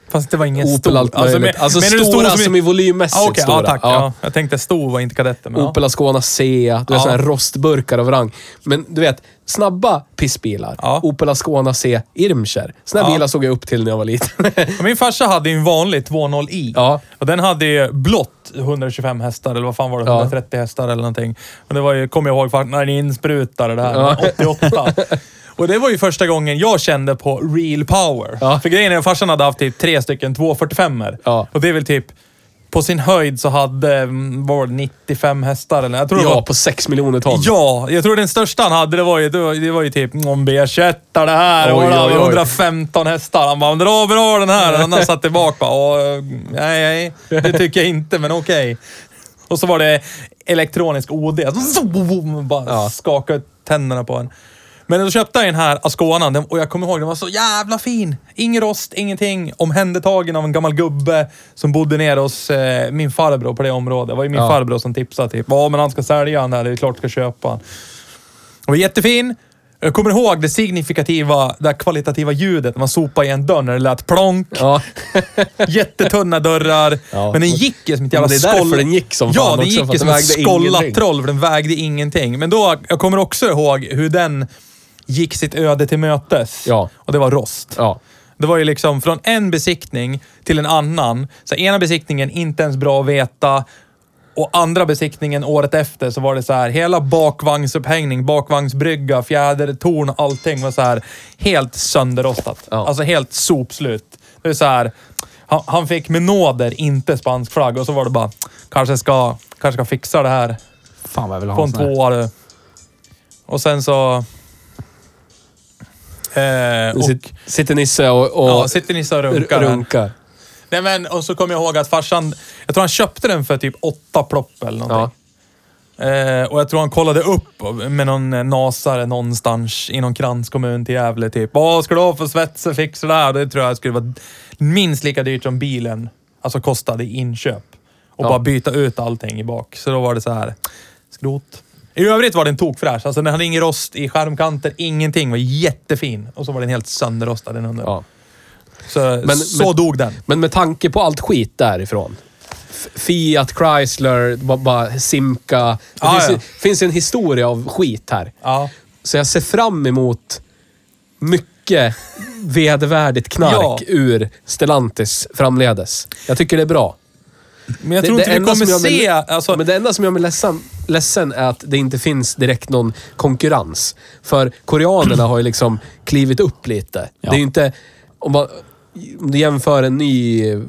Fast det var ingen Opel stor. allt möjligt. men- Alltså, menar du stora som, i volymmässigt Ah, okej, stora. Ja, tack. Ja. Jag tänkte stor var inte kadetten. Men, Opel Ascona C, du Ja. vet sådana här rostburkar och vrang. Men du vet, snabba pissbilar. Ja. Opel Ascona C Irmscher. Sådana Ja. ja. bilar såg jag upp till när jag var liten. *laughs* ja. Min farsa hade ju en vanlig 2.0i. Ja. Och den hade ju blått 125 hästar, eller vad fan var det? Ja. 130 hästar eller någonting. Men det var ju, kommer jag ihåg, för att när den insprutade det här. *laughs* Ja. 88. Och det var ju första gången jag kände på real power. Ja. För grejen är att farsan hade haft typ tre stycken 245 er Ja. Och det är väl typ, på sin höjd så hade, mm, vad var det 95 hästar eller? Jag tror det var ja, på 6 miljoner ton. Ja, jag tror den största han hade, det var ju, det var, det var ju typ någon B21 det här. Oj, och det oj, var oj. 115 hästar. Han bara, dra bra den här. Den andra satt tillbaka bara, "Åh, nej, nej, det tycker jag inte, men okej. Och så var det elektronisk OD. Bara Ja. skakade ut tänderna på en. Men då köpte jag den här Asconan den- och jag kommer ihåg, den var så jävla fin. Ingen rost, ingenting. Omhändertagen av en gammal gubbe som bodde nere hos eh, min farbror på det området. Det var ju min Ja. farbror som tipsade typ. Ja, men han ska sälja den här. Det är klart du ska köpa den. Den var jättefin. Jag kommer ihåg det signifikativa, det här kvalitativa ljudet när man sopade i en dörr när det lät plonk. Ja. *laughs* Jättetunna dörrar. Ja. Men den gick ju som ett jävla Men det är därför skoll- den gick som Ja, fan den också, gick för ju att som den ett vägde skollat ingenting. troll, för den vägde ingenting. Men då, jag kommer också ihåg hur den gick sitt öde till mötes. Ja. Och det var rost. ja. Det var ju liksom från en besiktning till en annan. Så ena besiktningen inte ens bra att veta. Och andra besiktningen året efter så var det så här, hela bakvagnsupphängning, bakvagnsbrygga, fjädertorn, allting var så här helt sönderrostat. Ja. Alltså helt sopslut. Det är så här, han, han fick med nåder inte spansk flagg och så var det bara, kanske ska, kanske ska fixa det här Fan vad jag vill ha på en en sån här. tvåa du. Och sen så... Eh, Nu och, sit- sitter Nisse och, och ja, sitter ni så och runkar här. runkar. Nej men, och så kommer jag ihåg att farsan, jag tror han köpte den för typ åtta plopp eller Ja. någonting. Eh, och jag tror han kollade upp med någon eh, nasare någonstans i någon kranskommun till Gävle typ. Vad ska du ha för svets och fix och det här? Det tror jag skulle vara minst lika dyrt som bilen, alltså kostade i inköp. Och Ja. bara byta ut allting i bak. Så då var det så här, skrot. I övrigt var den tokfräsch. Alltså den hade ingen rost i skärmkanter, ingenting. Var jättefin. Och så var den helt sönderrostad den under. Ja. Så, Men- så men- dog den. Men med tanke på allt skit därifrån. F- Fiat, Chrysler, bara, bara Simca. Det Ah, finns, ja. finns en historia av skit här. Ja. Så jag ser fram emot *laughs* mycket vedervärdigt knark Ja. ur Stellantis framledes. Jag tycker det är bra. Men jag Det- tror det inte vi enda kommer som gör mig- se... Alltså, Men det enda som gör mig ledsen, ledsen är att det inte finns direkt någon konkurrens. För koreanerna har ju liksom klivit upp lite. Ja. Det är ju inte... Om, man, om du jämför en ny eh,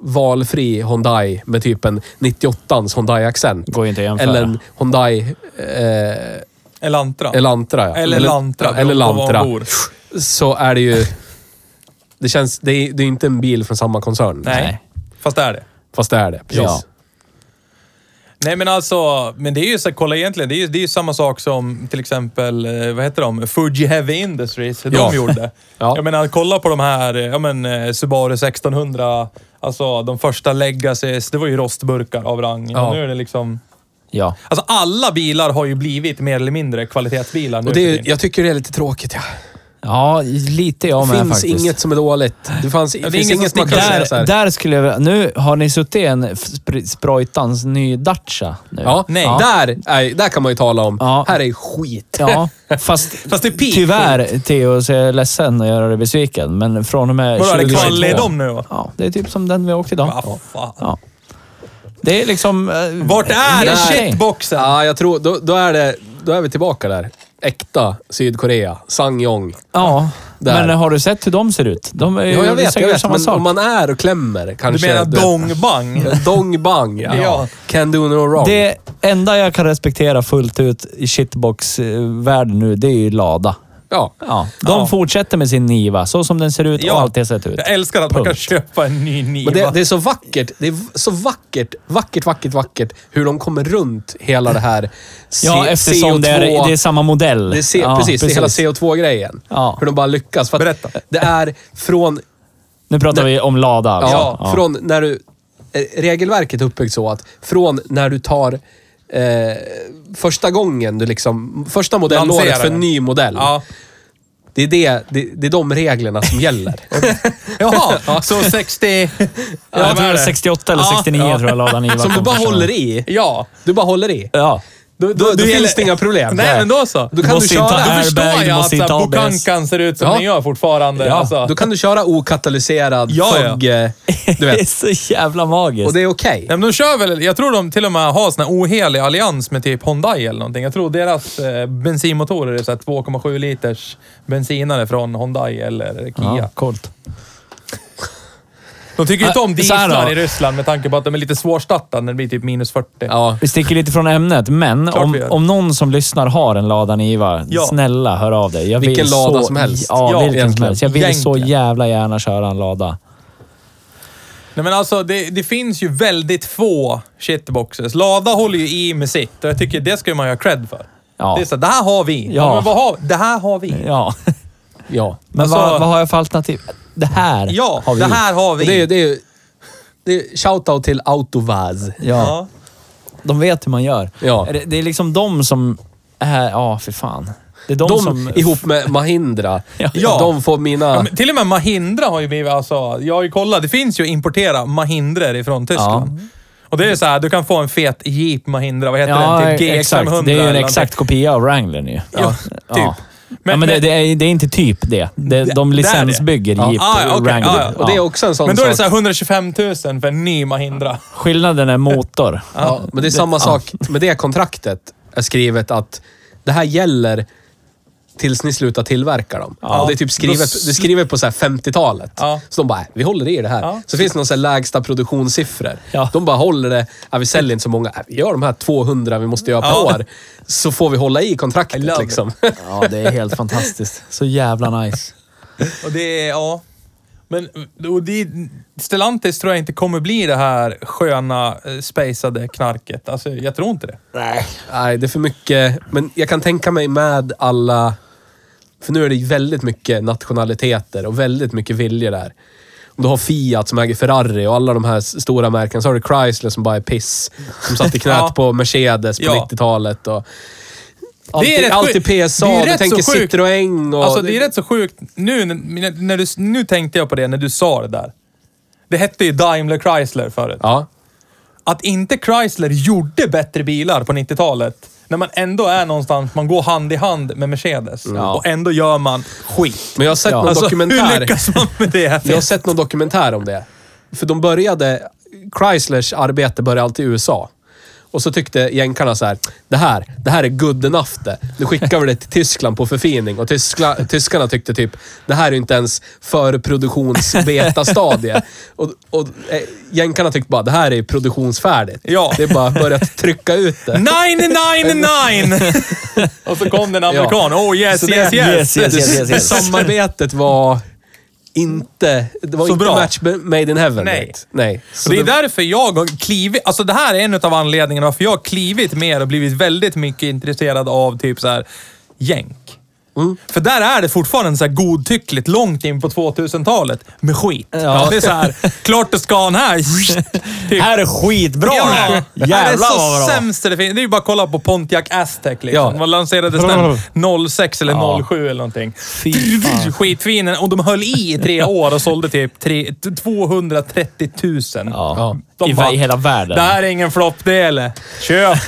valfri Hyundai med typ en 98ans Hyundai Accent. Går ju inte att jämföra. Eller en Hyundai eh, Elantra. Elantra. Ja. Eller Lantra, Eller beroende på var man Lantra. bor. Så är det ju... Det känns... Det är, det är inte en bil från samma koncern. Nej. Nej. Fast det är det. Fast det är det. Precis. Ja. Nej men alltså, men det är ju så, kolla egentligen, det är ju, det är ju samma sak som till exempel, eh, vad heter de? Fuji Heavy Industries, de Ja. gjorde. *laughs* Ja. Jag menar, kolla på de här, eh, ja men eh, Subaru 1600, alltså de första Legacies, det var ju rostburkar av rang. Ja. Och nu är det liksom... Ja. Alltså alla bilar har ju blivit mer eller mindre kvalitetsbilar nu Och för det tiden. är, jag tycker det är lite tråkigt, ja. Ja, lite jag Det med finns faktiskt. inget som är dåligt. Det, fanns, är det finns ingen som inget man kan sticker säga så Där, här. där skulle jag vilja- Nu har ni suttit i en spr- sprojtans ny Dacia nu. Ja, Nej. Där, nej, där kan man ju tala om. Ja. Här är ju skit. *laughs* Ja, fast, Fast det är peak. tyvärr Theo så är jag ledsen att göra dig besviken, men från och med Vadå, är det 2022 kvalle i dem nu? va? Ja, det är typ som den vi åkte idag. Ah, fan. Ja. Det är liksom... eh, Vart är helt det okej. shitboxen? Ja, jag tror... Då, då, är det, då är vi tillbaka där. Äkta Sydkorea. Sangyong. Ja, Där. men har du sett hur de ser ut? De är ju Ja, jag vet. vissa Jag gör vet samma men sak. om man är och klämmer Du kanske... menar vet- dongbang? Dong bang, ja. Ja. Can do no wrong. Det enda jag kan respektera fullt ut i shitbox-världen nu, det är ju Lada. Ja. Ja, de Ja. fortsätter med sin Niva, så som den ser ut och alltid har sett ut. Jag älskar att man Punkt. kan köpa en ny Niva. Men det, det är så vackert. Det är v- så vackert, vackert, vackert, vackert hur de kommer runt hela det här C- Ja, eftersom det är, det är samma modell. Det ser, ja, precis, Det är hela CO2-grejen. Ja. Hur de bara lyckas. För att Berätta. Det är från, Nu pratar vi om Lada. ja, Alltså. från när du... eh, Regelverket är uppbyggt så att från när du tar eh, första gången du liksom... Första modellåret Lanserar för den. ny modell. Ja. Det, är det, det, det är de reglerna *laughs* som gäller. *laughs* Jaha, så 60... Ja, jag vad är tror det det? är 68 eller Ja, 69 ja. tror jag Lada Niva Som du kom bara första håller gången. i. Ja. Du bara håller i. Ja. Då, då, då, Då gäller- finns det inga problem. Nej, men då så. Då kan du Måste inte köra. ha- Då Airbag, förstår du jag att måste så här, inte ha ABS. Bokankan ser ut som Ja. den gör fortfarande. Ja, alltså. Då kan du köra okatalyserad Ja, ja. tugg, eh, Du *laughs* Det *laughs* är vet. så jävla magiskt. Och det är okej. Nej, men de kör väl, jag tror de till och med har sån här ohelig allians med typ Hyundai eller någonting. Jag tror deras eh, bensinmotorer är så här 2,7 liters bensinare från Hyundai eller Kia. ja, coolt. De tycker ju inte om Äh, så här dieslar då. i Ryssland med tanke på att de är lite svårstartade när det blir typ minus 40. Ja. Vi sticker lite från ämnet, men Klart vi om, gör. om någon som lyssnar har en Lada Niva, Ja. snälla hör av dig. Jag vill Vilken så, lada som helst. Ja, Ja, vilken som egentligen. helst. Jag vill så Egentligen. jävla gärna köra en Lada. Nej men alltså, det, det finns ju väldigt få shitboxes. Lada håller ju i med sitt och jag tycker det ska man ju ha cred för. Ja. Det är så här, det här har vi. Ja. Ja. men vad har vi? Det här har vi. Ja. ja. *laughs* Men Alltså- vad, vad har jag för alternativ? Det här Ja, har vi. det här har Och vi. det är ju... Det är, ju- det är shoutout till Autovaz. Ja. Ja. De vet hur man gör. Ja. Är Det, det är liksom de som är... Ja, för fan. Det är de, De som... ihop med Mahindra. Ja. De får mina... Ja, men till och med Mahindra har ju blivit, alltså, jag har ju kollat, det finns ju att importera Mahindror ifrån Tyskland. Och det är så här, du kan få en fet Jeep Mahindra, vad heter Ja, den? Typ exakt. GX500 Det är ju en eller exakt kopia av Wranglern ju. Ja, typ. Men, ja, men det, det, är, det är inte typ det. det Det- de det är det. licensbygger Ja. Jeep Ah, ja, okej. Wrangler. Ah, ja. Och det är också en sån Men då är det så sak. här 125 000 för en ny Mahindra. Skillnaden *laughs* är motor. Ja, men det är samma sak med det kontraktet. är skrivet att det här gäller tills ni slutar tillverka dem. Och det är typ skrivet, Då det s- är skrivet på så här 50-talet. Ja. Så de bara, "Äh, vi håller i det här. Ja. Så finns det någon så här lägsta produktionssiffror. Ja. De bara håller det. "Äh, vi säljer inte så många. "Äh, vi gör de här 200 vi måste göra per Ja. år. Så får vi hålla i I kontraktet love liksom. *laughs* Ja, det är helt fantastiskt. Så jävla nice. Och det är, ja. Men och det, Stellantis tror jag inte kommer bli det här sköna, eh, spejsade knarket. Alltså, jag tror inte det. Nej, det är för mycket. Men jag kan tänka mig med alla... För nu är det väldigt mycket nationaliteter och väldigt mycket viljor där. Om du har Fiat som äger Ferrari och alla de här s- stora märken. Så har du Chrysler som bara är piss. Som satt i knät *laughs* Ja. på Mercedes på Ja. 90-talet. Och Det är alltid, rätt alltid sjukt. PSA. Det är du rätt tänker så sjukt. Citroën och... Alltså det är rätt så sjukt. Nu, när, när du, nu tänkte jag på det när du sa det där. Det hette ju Daimler Chrysler förut. Ja. Att inte Chrysler gjorde bättre bilar på 90-talet, när man ändå är någonstans, man går hand i hand med Mercedes Mm. Ja. och ändå gör man skit. Men jag har sett Ja. någon Alltså, hur dokumentär. lyckas man med det? Jag har sett någon dokumentär om det. För de började... Chryslers arbete började alltid i USA. Och så tyckte jänkarna så här, det här, det här är good enough det. Nu skickar vi det till Tyskland på förfining. Och tyskla, tyskarna tyckte typ, det här är ju inte ens förproduktionsbetastadie. Och, och eh, jänkarna tyckte bara, det här är produktionsfärdigt. Ja. Det är bara att börja trycka ut det. 999! *laughs* och så kom den amerikan. Oh yes, Så det- yes, yes, yes, yes, yes, yes, yes. Samarbetet var inte... Det var Så inte bra. match made in heaven. Nej. right? Nej. Så Och det är därför jag har klivit, alltså det här är en av anledningarna varför jag har klivit mer och blivit väldigt mycket intresserad av typ så här jänk. För där är det fortfarande så här godtyckligt långt in på 2000-talet med skit. Ja. Det är så här, klart det ska han här. Typ. Här är skitbra! Ja, det är Jävlar vad så bra! sämst det finns. Det är ju bara att kolla på Pontiac Aztec liksom. Ja. Man lanserades den 06 eller Ja. 07 eller någonting. Fy *laughs* fan. Skitfin. Och de höll i i tre år och sålde typ tre, 230 000. Ja. De I, bara, I hela världen. Det här är ingen floppdel. *laughs* Köp!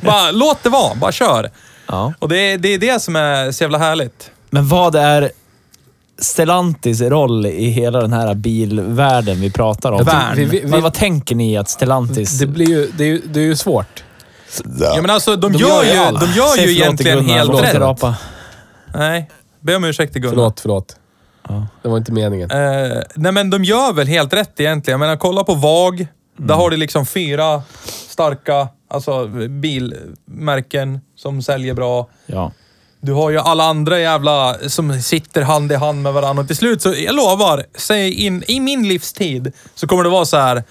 bara, låt det vara. Bara kör. Ja. Och det, är- det är det som är så jävla härligt. Men vad... Vad är Stellantis roll i hela den här bilvärlden vi pratar om? Jag tror- vi- vi- vad, vad tänker ni att Stellantis... Det, blir ju, det, är ju, det är ju svårt. Ja, men alltså, de, De gör, gör ju ju, allt. de gör *laughs* Säg ju förlåt till egentligen Gunnar, helt förlåt till rätt. Rapa. Nej, be om ursäkt till Gunnar. Förlåt, förlåt. Det var inte meningen. Eh, nej, men de gör väl helt rätt egentligen. Men kolla på VAG. Där har du liksom fyra starka alltså, bilmärken som säljer bra. Ja. Du har ju alla andra jävla som sitter hand i hand med varandra. Och till slut så, jag lovar, säg in, i min livstid så kommer det vara så här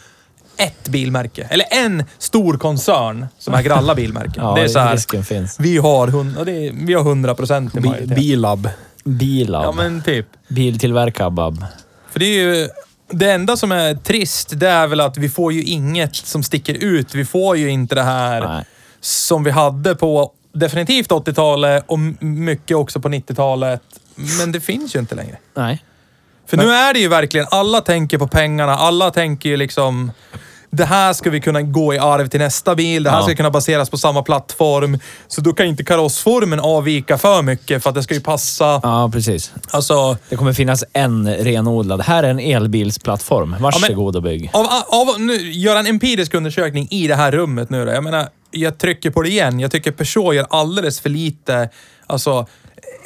ett bilmärke. Eller en stor koncern som äger alla bilmärken. Ja, det är så här, risken finns. vi har, hund, och det är, vi har 100 procent i Bi, majoritet. bilab. Bilab. Ja, men typ. Biltillverkar Bab. För det är ju... Det enda som är trist, det är väl att vi får ju inget som sticker ut. Vi får ju inte det här Nej. som vi hade på definitivt 80-talet och m- mycket också på 90-talet. Men det finns ju inte längre. Nej. För nu är det ju verkligen, alla tänker på pengarna, alla tänker ju liksom... Det här ska vi kunna gå i arv till nästa bil, det här Ja. ska kunna baseras på samma plattform. Så då kan inte karossformen avvika för mycket för att det ska ju passa. Ja, precis. Alltså, Det kommer finnas en renodlad. Här är en elbilsplattform. Varsågod och bygg. Av, av, nu, gör en empirisk undersökning i det här rummet nu då. Jag menar, jag trycker på det igen. Jag tycker Peugeot gör alldeles för lite alltså,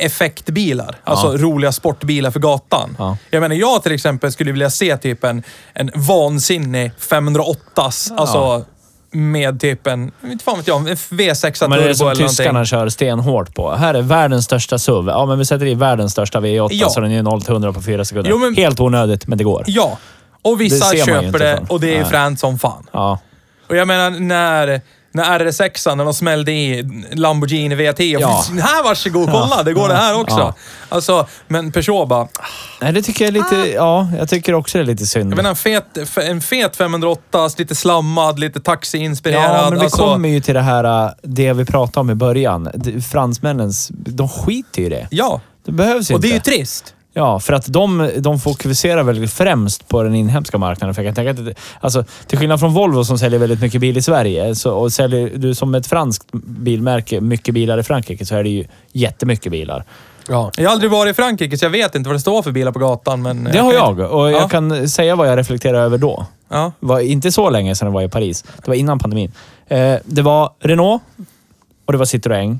effektbilar. Alltså roliga sportbilar för gatan. Ja. Jag menar, jag till exempel skulle vilja se typ en, en vansinnig 508 Alltså med typ en, inte fan vet jag, en V6 turbo Men det är eller det som någonting. tyskarna kör stenhårt på. Här är världens största SUV. Ja, men vi sätter i världens största V8 Ja. så den är 0 till 100 på 4 sekunder. Jo, men- Helt onödigt, men det går. Ja. Och vissa Det ser man ju köper inte det fan. och det är Nej. fränt som fan. Ja. Och jag menar när, när RS6an, när de smällde i Lamborghini V10. Ja. *laughs* Här varsågod, kolla, det går det här också. Ja. Alltså, men Peugeot bara, Nej, det tycker jag är lite... Ja, jag tycker också det är lite synd. jag menar en fet, f- en fet 508, lite slammad, lite taxiinspirerad. Ja, men vi alltså, kommer ju till det här, äh, det vi pratade om i början. Det- Fransmännens, de skiter ju i det. Ja, Det behövs och inte. det är ju trist. Ja, för att de, de fokuserar väl främst på den inhemska marknaden. För jag kan tänka att, alltså, till skillnad från Volvo som säljer väldigt mycket bil i Sverige så, och säljer du som ett franskt bilmärke mycket bilar i Frankrike så är det ju jättemycket bilar. Ja. Jag har aldrig varit i Frankrike, så jag vet inte vad det står för bilar på gatan. Men Det har jag Ja. och jag kan säga vad jag reflekterar över då. Ja. var inte så länge sedan jag var i Paris. Det var innan pandemin. Eh, det var Renault och det var Citroën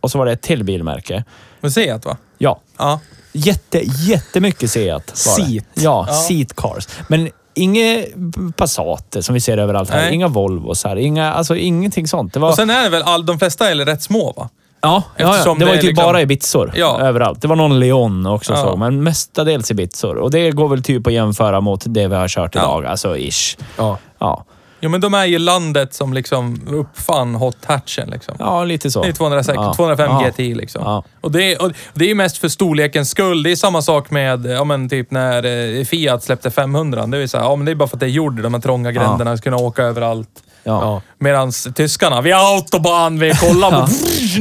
och så var det ett till bilmärke. Museet va? Ja, Ja. jätte, jättemycket Seat. var det. Seat. Ja, Ja. Seat Cars. Men inga Passater som vi ser överallt här. Nej. Inga Volvos här. Inga, alltså ingenting sånt. Det var, Och sen är det väl, all, de flesta är rätt små va? ja, ja, ja, eftersom det var det ju är typ liksom- bara Ibizor Ja. överallt. Det var någon Leon också Ja. såg, men mestadels Ibizor. Och det går väl typ att jämföra mot det vi har kört idag. Alltså ish. ja. Ja. Jo, men de är ju landet som liksom uppfann hot hatchen liksom. ja, lite så. Det är 206, Ja. 205 Ja. GTI liksom. Ja. Och, det är, och det är ju mest för storlekens skull. Det är samma sak med, ja men typ när eh, Fiat släppte 500. Det är ju så här, ja men det är bara för att det gjorde de här trånga gränderna, kunna åka överallt. ja. Medan tyskarna, vi har autobahn, vi *laughs* kollar på...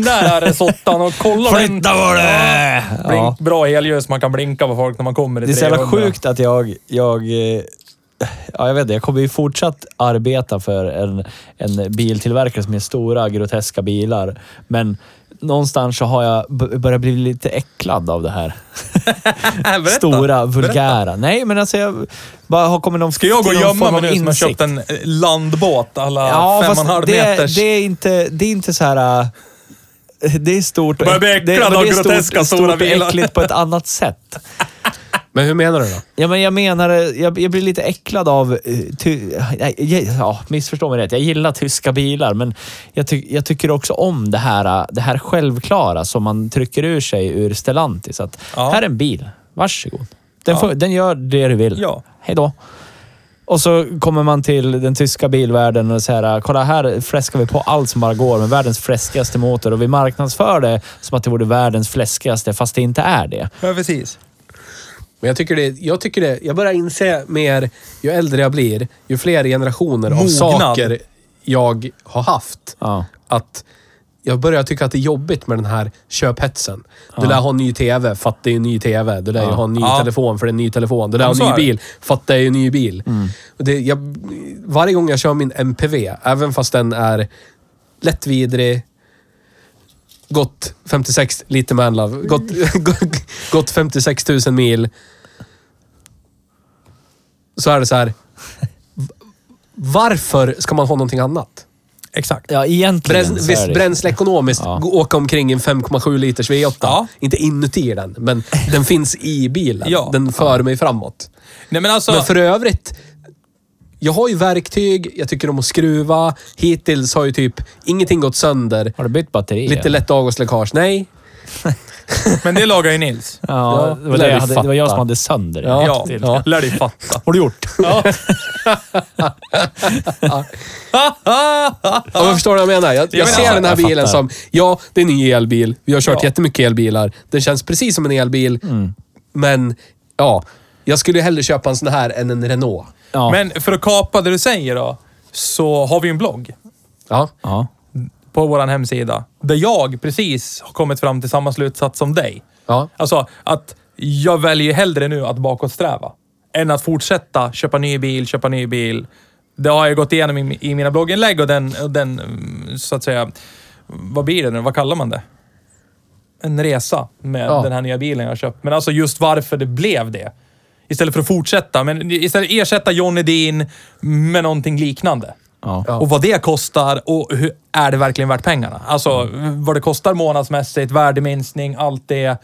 Där är sottan och kolla Flytta på det! Ja. Blink, Bra helljus, man kan blinka på folk när man kommer i Det är så jävla 300. sjukt att jag... jag eh, ja, jag vet inte. Jag kommer ju fortsatt arbeta för en, en biltillverkare som gör stora, groteska bilar. Men någonstans så har jag b- börjat bli lite äcklad av det här. Äh, Berätta. Stora, vulgära. Nej, men alltså jag bara har kommit någon Ska jag gå och till någon gömma form mig nu av som har insikt. köpt en eh, landbåt alla fem Ja, och en fast halv det, meters? det är inte, det är inte så här... äh, Det är stort och Börjar bli äck- det- äcklad men av det är groteska stort, stora stort och bilar. äckligt på ett annat sätt. Men hur menar du då? Ja, men jag menar, jag, jag blir lite äcklad av... eh, Ty, nej, jag- ja, missförstå mig rätt. Jag gillar tyska bilar, men jag, ty, jag tycker också om det här, eh, det här självklara som man trycker ur sig ur Stellantis. Att Ja. här är en bil. Varsågod. Den, får, den gör det du vill. Ja. Hej då. Och så kommer man till den tyska bilvärlden och säger kolla här fläskar vi på allt som bara går med världens fläskigaste motor och vi marknadsför det som att det vore världens fläskigaste fast det inte är det. Ja, precis. Men jag tycker det, jag tycker det, jag börjar inse mer ju äldre jag blir, ju fler generationer av Mognad. saker jag har haft. Ja. Att jag börjar tycka att det är jobbigt med den här köphetsen. Du lär ha en ny TV för att det är en ny TV. Du lär ju ha en ny Ja. telefon för det är en ny telefon. Du lär Ja, ha en men så ny är det. Mm. bil för att det är en ny bil. Och Det, jag, varje gång jag kör min MPV, även fast den är lättvidrig, gått 56, lite manlove, gått, *laughs* gått 56 000 mil. Så är det så här. v- Varför ska man ha någonting annat? Exakt. Ja, egentligen Bräns, så är visst, det. bränsleekonomiskt, Ja. gå- åka omkring i en 5,7 liters V8. Ja. Inte inuti den, men *laughs* den finns i bilen. Ja. Den för mig framåt. Nej, men alltså, Men för övrigt, jag har ju verktyg, jag tycker om att skruva. Hittills har ju typ ingenting gått sönder. Har du bytt batteri? Lite lätt avgasläckage. Nej, men det lagar ju Nils. Ja, det var, lär det, vi jag hade, det var jag fatta. som hade sönder det. Ja, Till. ja. lär dig fatta. Har du gjort? Ja, men förstår du vad jag menar? Jag, jag, menar, ser ja, den här jag bilen fattar. som, ja, det är en ny elbil. Vi har kört Ja. jättemycket elbilar. Den känns precis som en elbil. Mm. Men, ja. Jag skulle ju hellre köpa en sån här än en Renault. *laughs* Ja. Men för att kapa det du säger då, så har vi en blogg Ja. ja. på vår hemsida där jag precis har kommit fram till samma slutsats som dig. ja. Alltså att jag väljer hellre nu att bakåtsträva än att fortsätta köpa ny bil, köpa ny bil. Det har jag gått igenom i, i mina blogginlägg och den, och den, mm, så att säga, vad blir det nu? Vad kallar man det? En resa med Ja. den här nya bilen jag har köpt. Men alltså just varför det blev det. Istället för att fortsätta, men istället ersätta Johnny Dean med någonting liknande. Ja. Ja. Och vad det kostar och hur, är det verkligen värt pengarna? Alltså vad det kostar månadsmässigt, värdeminskning, allt det.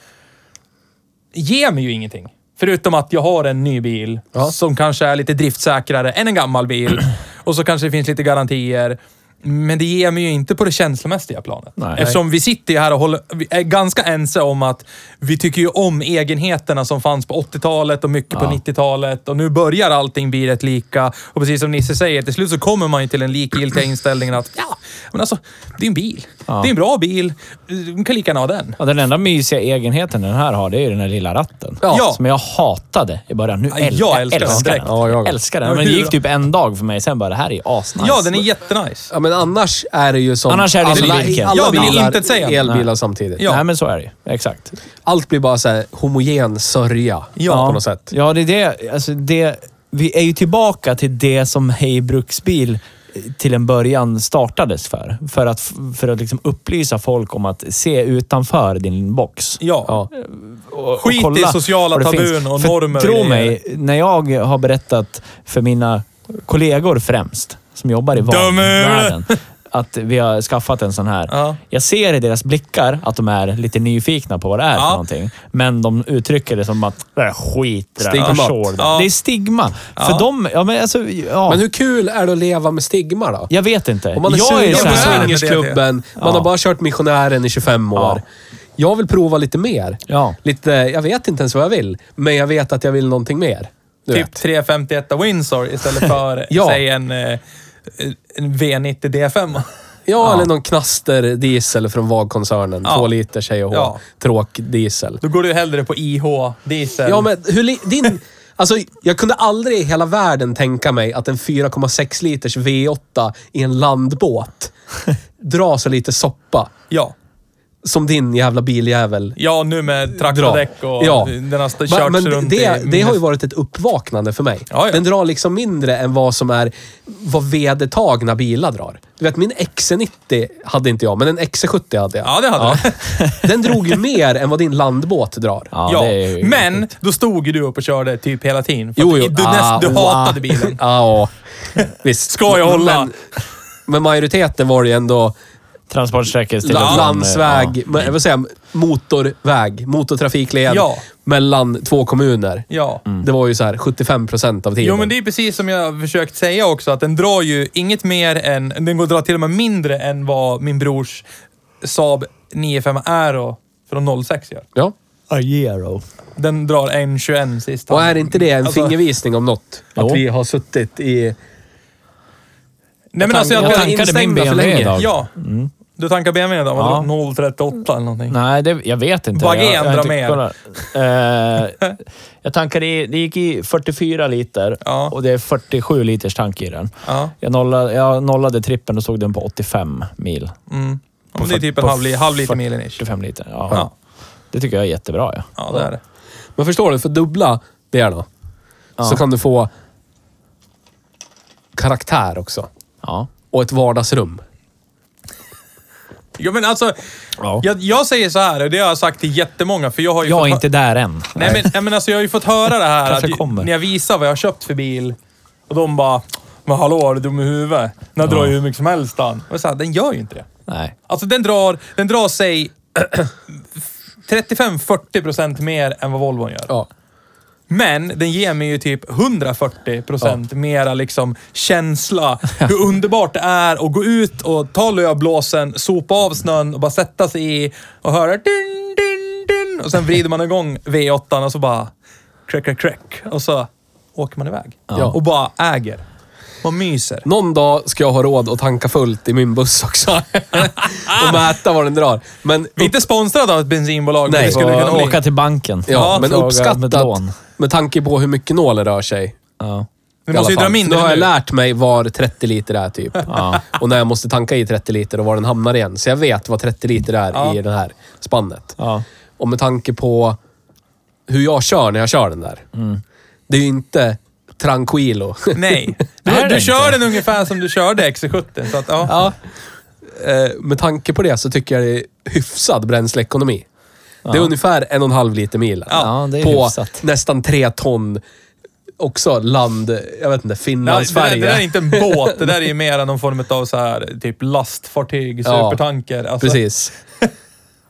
Ger mig ju ingenting. Förutom att jag har en ny bil Ja. som kanske är lite driftsäkrare än en gammal *clears throat* bil. Och så kanske det finns lite garantier. Men det ger mig ju inte på det känslomässiga planet. Nej. Eftersom vi sitter ju här och håller, vi är ganska ense om att vi tycker ju om egenheterna som fanns på 80-talet och mycket på Ja. 90-talet. Och nu börjar allting bli rätt lika. Och precis som Nisse säger, till slut så kommer man ju till den likgiltiga inställningen att ja, men alltså, det är en bil. Ja. Det är en bra bil. Du kan lika gärna ha den. Ja, den enda mysiga egenheten den här har, det är ju den här lilla ratten. Ja. Som jag hatade i början. Nu Ja, äl- jag älskar den direkt. den. Ja, jag- älskar den. Ja, Men det hur gick då? typ en dag för mig, sen bara det här är asnice. Ja, den är jättenice. Ja, men annars är det ju som Annars är det som vilken. alla Ja, det är bilar, inte ett sägande. elbilar samtidigt. Ja. Nej, men så är det ju. Exakt. Allt blir bara så här homogen sörja Ja. på något sätt. Ja, det är det. Alltså, det. Vi är ju tillbaka till det som Hej Bruksbil till en början startades för. För att, för att liksom upplysa folk om att se utanför din box. Ja. Ja. och- och Skit i kolla sociala vad det tabun finns. och För normer och Tro grejer. mig, när jag har berättat för mina kollegor främst, som jobbar i Döm över det. världen att vi har skaffat en sån här. Ja. Jag ser i deras blickar att de är lite nyfikna på vad det är Ja. för någonting. Men de uttrycker det som att det är skit. Det, där, Stigmat. förstår du." Ja. det är stigma. För de... Ja, men alltså, ja, Men hur kul är det att leva med stigma då? jag vet inte. Om man är jag sugen så på här- swingersklubben, man har Ja. bara kört missionären i 25 år. Ja. Jag vill prova lite mer. Ja. Lite, jag vet inte ens vad jag vill, men jag vet att jag vill någonting mer. Du Typ vet. 351 Windsor *laughs* istället för, Ja. säg en, eh, en V90 D5. Ja, eller någon knasterdiesel från VAG-koncernen. Ja. Två liter tjej och Ja. ja. tråkdiesel. Då går du ju hellre på IH diesel. Ja, men hur li- din... Alltså, jag kunde aldrig i hela världen tänka mig att en 4,6 liters V8 i en landbåt *laughs* drar så lite soppa ja. som din jävla biljävel Ja, nu med drar. traktordäck och den har st- Va- körts men runt det, i det har ju varit ett uppvaknande för mig. Ja, ja. Den drar liksom mindre än vad som är vad vedertagna bilar drar. Du vet, min XC90 hade inte jag, men en XC70 hade jag. Ja, det hade du. Den *laughs* drog ju mer än vad din landbåt drar. Ja, Ja, det är ju- men då stod ju du upp och körde typ hela tiden. För Jo, att jo. Du, näst, du Ah, wow. hatade bilen. Ja, visst. Ska jag hålla? Men, men majoriteten var det ju ändå Transportsträckor till och la- från, landsväg, ja. men, jag vill säga motorväg, motortrafikled Ja. mellan två kommuner. Ja. Det var ju så här 75 procent av tiden. Jo, men det är precis som jag försökt säga också, att den drar ju inget mer än... Den går att dra till och med mindre än vad min brors Saab 95 Aero från 06 gör. Ja. Ajero. Den drar 1.21 sista. Och är inte det en Alltså- fingervisning om något? Att Jo. vi har suttit i... Nej men alltså Jag jag, tankade jag min BMW idag. Ja. Mm. Du tankar BMW idag? Ja. Ja. 0.38 eller någonting? Nej, det, jag vet inte. Baggen Jag- jag har inte drar mer. kollat. Eh, jag tankade i, det gick i 44 liter Ja. och det är 47 liters tank i den. Ja. Jag nollade, jag nollade trippen och såg den på 85 mil. Mm. Ja, men det är typ en På halv, li- halv liter 40 milen ish. 45 liter, ja. Ja. Det tycker jag är jättebra. Ja. Ja, det är det. Men förstår du? För dubbla det är då. Så kan du få karaktär också. Ja. Och ett vardagsrum. Jo, men alltså, Ja. jag, jag säger så här, och det har jag sagt till jättemånga, för jag har ju Jag fått är hö- inte där än. Nej, men, nej, men alltså, jag har ju fått höra det här Kanske att, kommer. när jag visar vad jag har köpt för bil. Och de bara, men hallå är du dum i huvudet? Den här drar ju hur mycket som helst den. Och så här, den gör ju inte det. Nej. Alltså den drar, den drar sig *clears throat* 35-40 procent mer än vad Volvon gör. Ja. Men den ger mig ju typ 140 procent mera liksom *laughs* känsla. Hur underbart det är att gå ut och ta lövblåsen, sopa av snön och bara sätta sig i och höra din, din, din. Och sen vrider man igång V8 och så bara crack, crack, crack. Och så åker man iväg. Ja. Och bara äger. Man myser. Någon dag ska jag ha råd att tanka fullt i min *laughs* buss också. och mäta vad den drar. Men, Vi är inte sponsrade av ett bensinbolag. Nej. men det skulle Och kunna bli. åka till banken. ja, Ja, men fråga uppskattat med med, lån. tanke på hur mycket nålen rör sig. Ja. Vi i måste alla ju dra fall. mindre Nu har jag nu. lärt mig var 30 liter *laughs* är typ. Och när jag måste tanka i 30 liter och var den hamnar igen. Så jag vet vad 30 liter är Ja. i det här spannet. Ja. Och med tanke på hur jag kör när jag kör den där. Mm. Det är ju inte *laughs* tranquilo. Nej. Är Du, det du inte? kör den ungefär som du körde XC70. Så att, ja. ja. Eh, Med tanke på det så tycker jag det är hyfsad bränsleekonomi. Det är ungefär en och en halv liter milen. Ja. Ja, det är på hyfsat. nästan tre ton också land, jag vet inte, Ja, Finland, det, där, det där är Sverige. inte en båt. Det där är ju mer än någon form av så här, typ lastfartyg, Ja, supertanker. Alltså, Precis.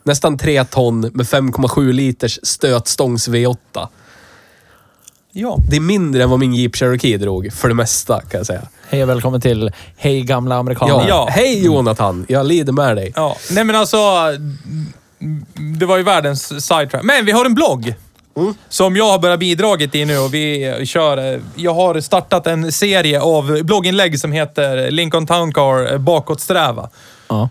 Nästan tre ton med 5,7 liters stötstångs V8. Ja. Det är mindre än vad min Jeep Cherokee drog, för det mesta kan jag säga. Hej och välkommen till Hej gamla Ja. amerikaner. Ja. Hej Jonathan, jag lider med dig. ja. Nej men alltså, mm, det var ju världens sidetrack. Men vi har en blogg. Som jag har börjat bidragit i nu och vi kör... eh, Jag har startat en serie av blogginlägg som heter Lincoln Town Car eh, bakåtsträva. Ja.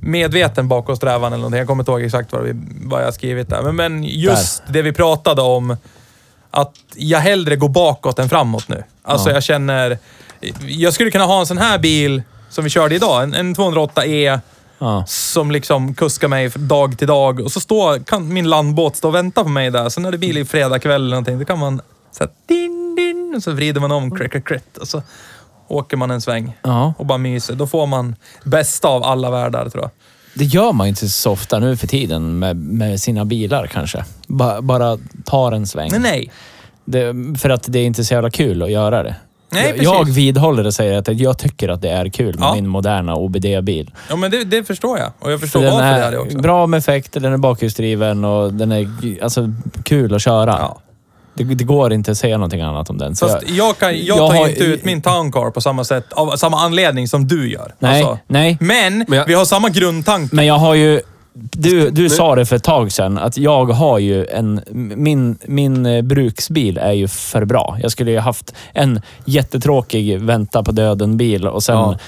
medveten bakåtsträvan eller någonting. Jag kommer inte ihåg exakt vad, vi, vad jag har skrivit där. Men, men just det vi pratade om, att jag hellre går bakåt än framåt nu. Alltså jag känner... Jag skulle kunna ha en sån här bil som vi körde idag, en, E en 208E Ja. som liksom kuskar mig från dag till dag. Och så står, kan min landbåt stå och vänta på mig där. Sen när det blir fredag kväll eller någonting, då kan man så här, din, din, och så vrider man om, crack, crack, crack, och så åker man en sväng Ja. och bara myser. Då får man bästa av alla världar tror jag. Det gör man ju inte så ofta nu för tiden med, med sina bilar kanske. Ba, bara tar en sväng. Nej, nej. Det, för att det är inte så jävla kul att göra det. Nej, jag, precis. jag vidhåller och säger att jag tycker att det är kul med Ja. min moderna OBD-bil. Ja, men det, det förstår jag. Och jag För förstår Den varför det är det är också. bra med effekter, den är bakhjulsdriven och den är g- alltså, kul att köra. Ja. Det, det går inte att säga någonting annat om den. Så Fast jag, kan, jag, jag tar har- inte ut min towncar på samma sätt, av samma anledning som du gör. Alltså. Nej, nej. Men, Men jag- vi har samma grundtanke. Men jag har ju... Du, du sa det för ett tag sedan, att jag har ju en... Min, min eh, bruksbil är ju för bra. Jag skulle ju haft en jättetråkig vänta på döden-bil och sen Ja.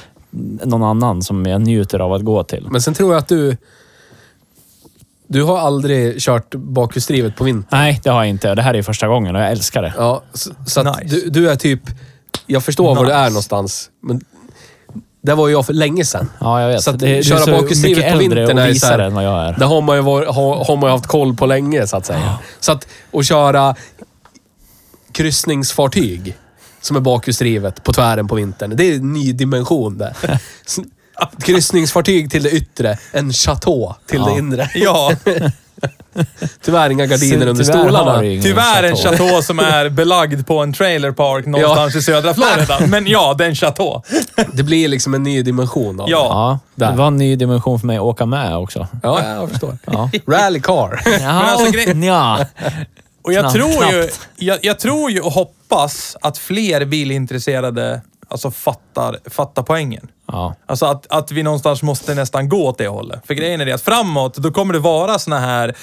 någon annan som jag njuter av att gå till. Men sen tror jag att du... Du har aldrig kört bakhjulsdrivet på vintern. Nej, det har jag inte. Det här är ju första gången och jag älskar det. Ja, så, så att Nice. du, du är typ... Jag förstår var du Nice. är någonstans, men... Där var ju jag för länge sedan. Ja, jag vet. Så att Det- du är köra så mycket bakhjulsdrivet på äldre vintern och är ju visare så här- än vad jag är. Det har man ju, var, har, har man ju haft koll på länge, så att säga. Så att, att köra kryssningsfartyg som är bakhjulsdrivet på tvären på vintern. Det är en ny dimension det. *laughs* Så- Kryssningsfartyg till det yttre, en chateau till Ja. det inre. Ja, *laughs* Tyvärr inga gardiner Så under tyvärr har stolarna. du ju ingen tyvärr en chateau. chateau *laughs* som är belagd på en trailerpark någonstans i södra *laughs* Florida. Men ja, det är en chateau. Det blir liksom en ny dimension av Ja. Ja, Där. det var en ny dimension för mig att åka med också. det. Ja, jag förstår. Ja. *laughs* Rallycar. Ja, alltså, gre- ja. Och jag Knappt, tror, ju, knappt. jag, jag tror ju och hoppas att fler bilintresserade alltså fattar, fattar poängen. Ja. Alltså att, att vi någonstans måste nästan gå åt det hållet. För grejen är det att framåt, då kommer det vara såna här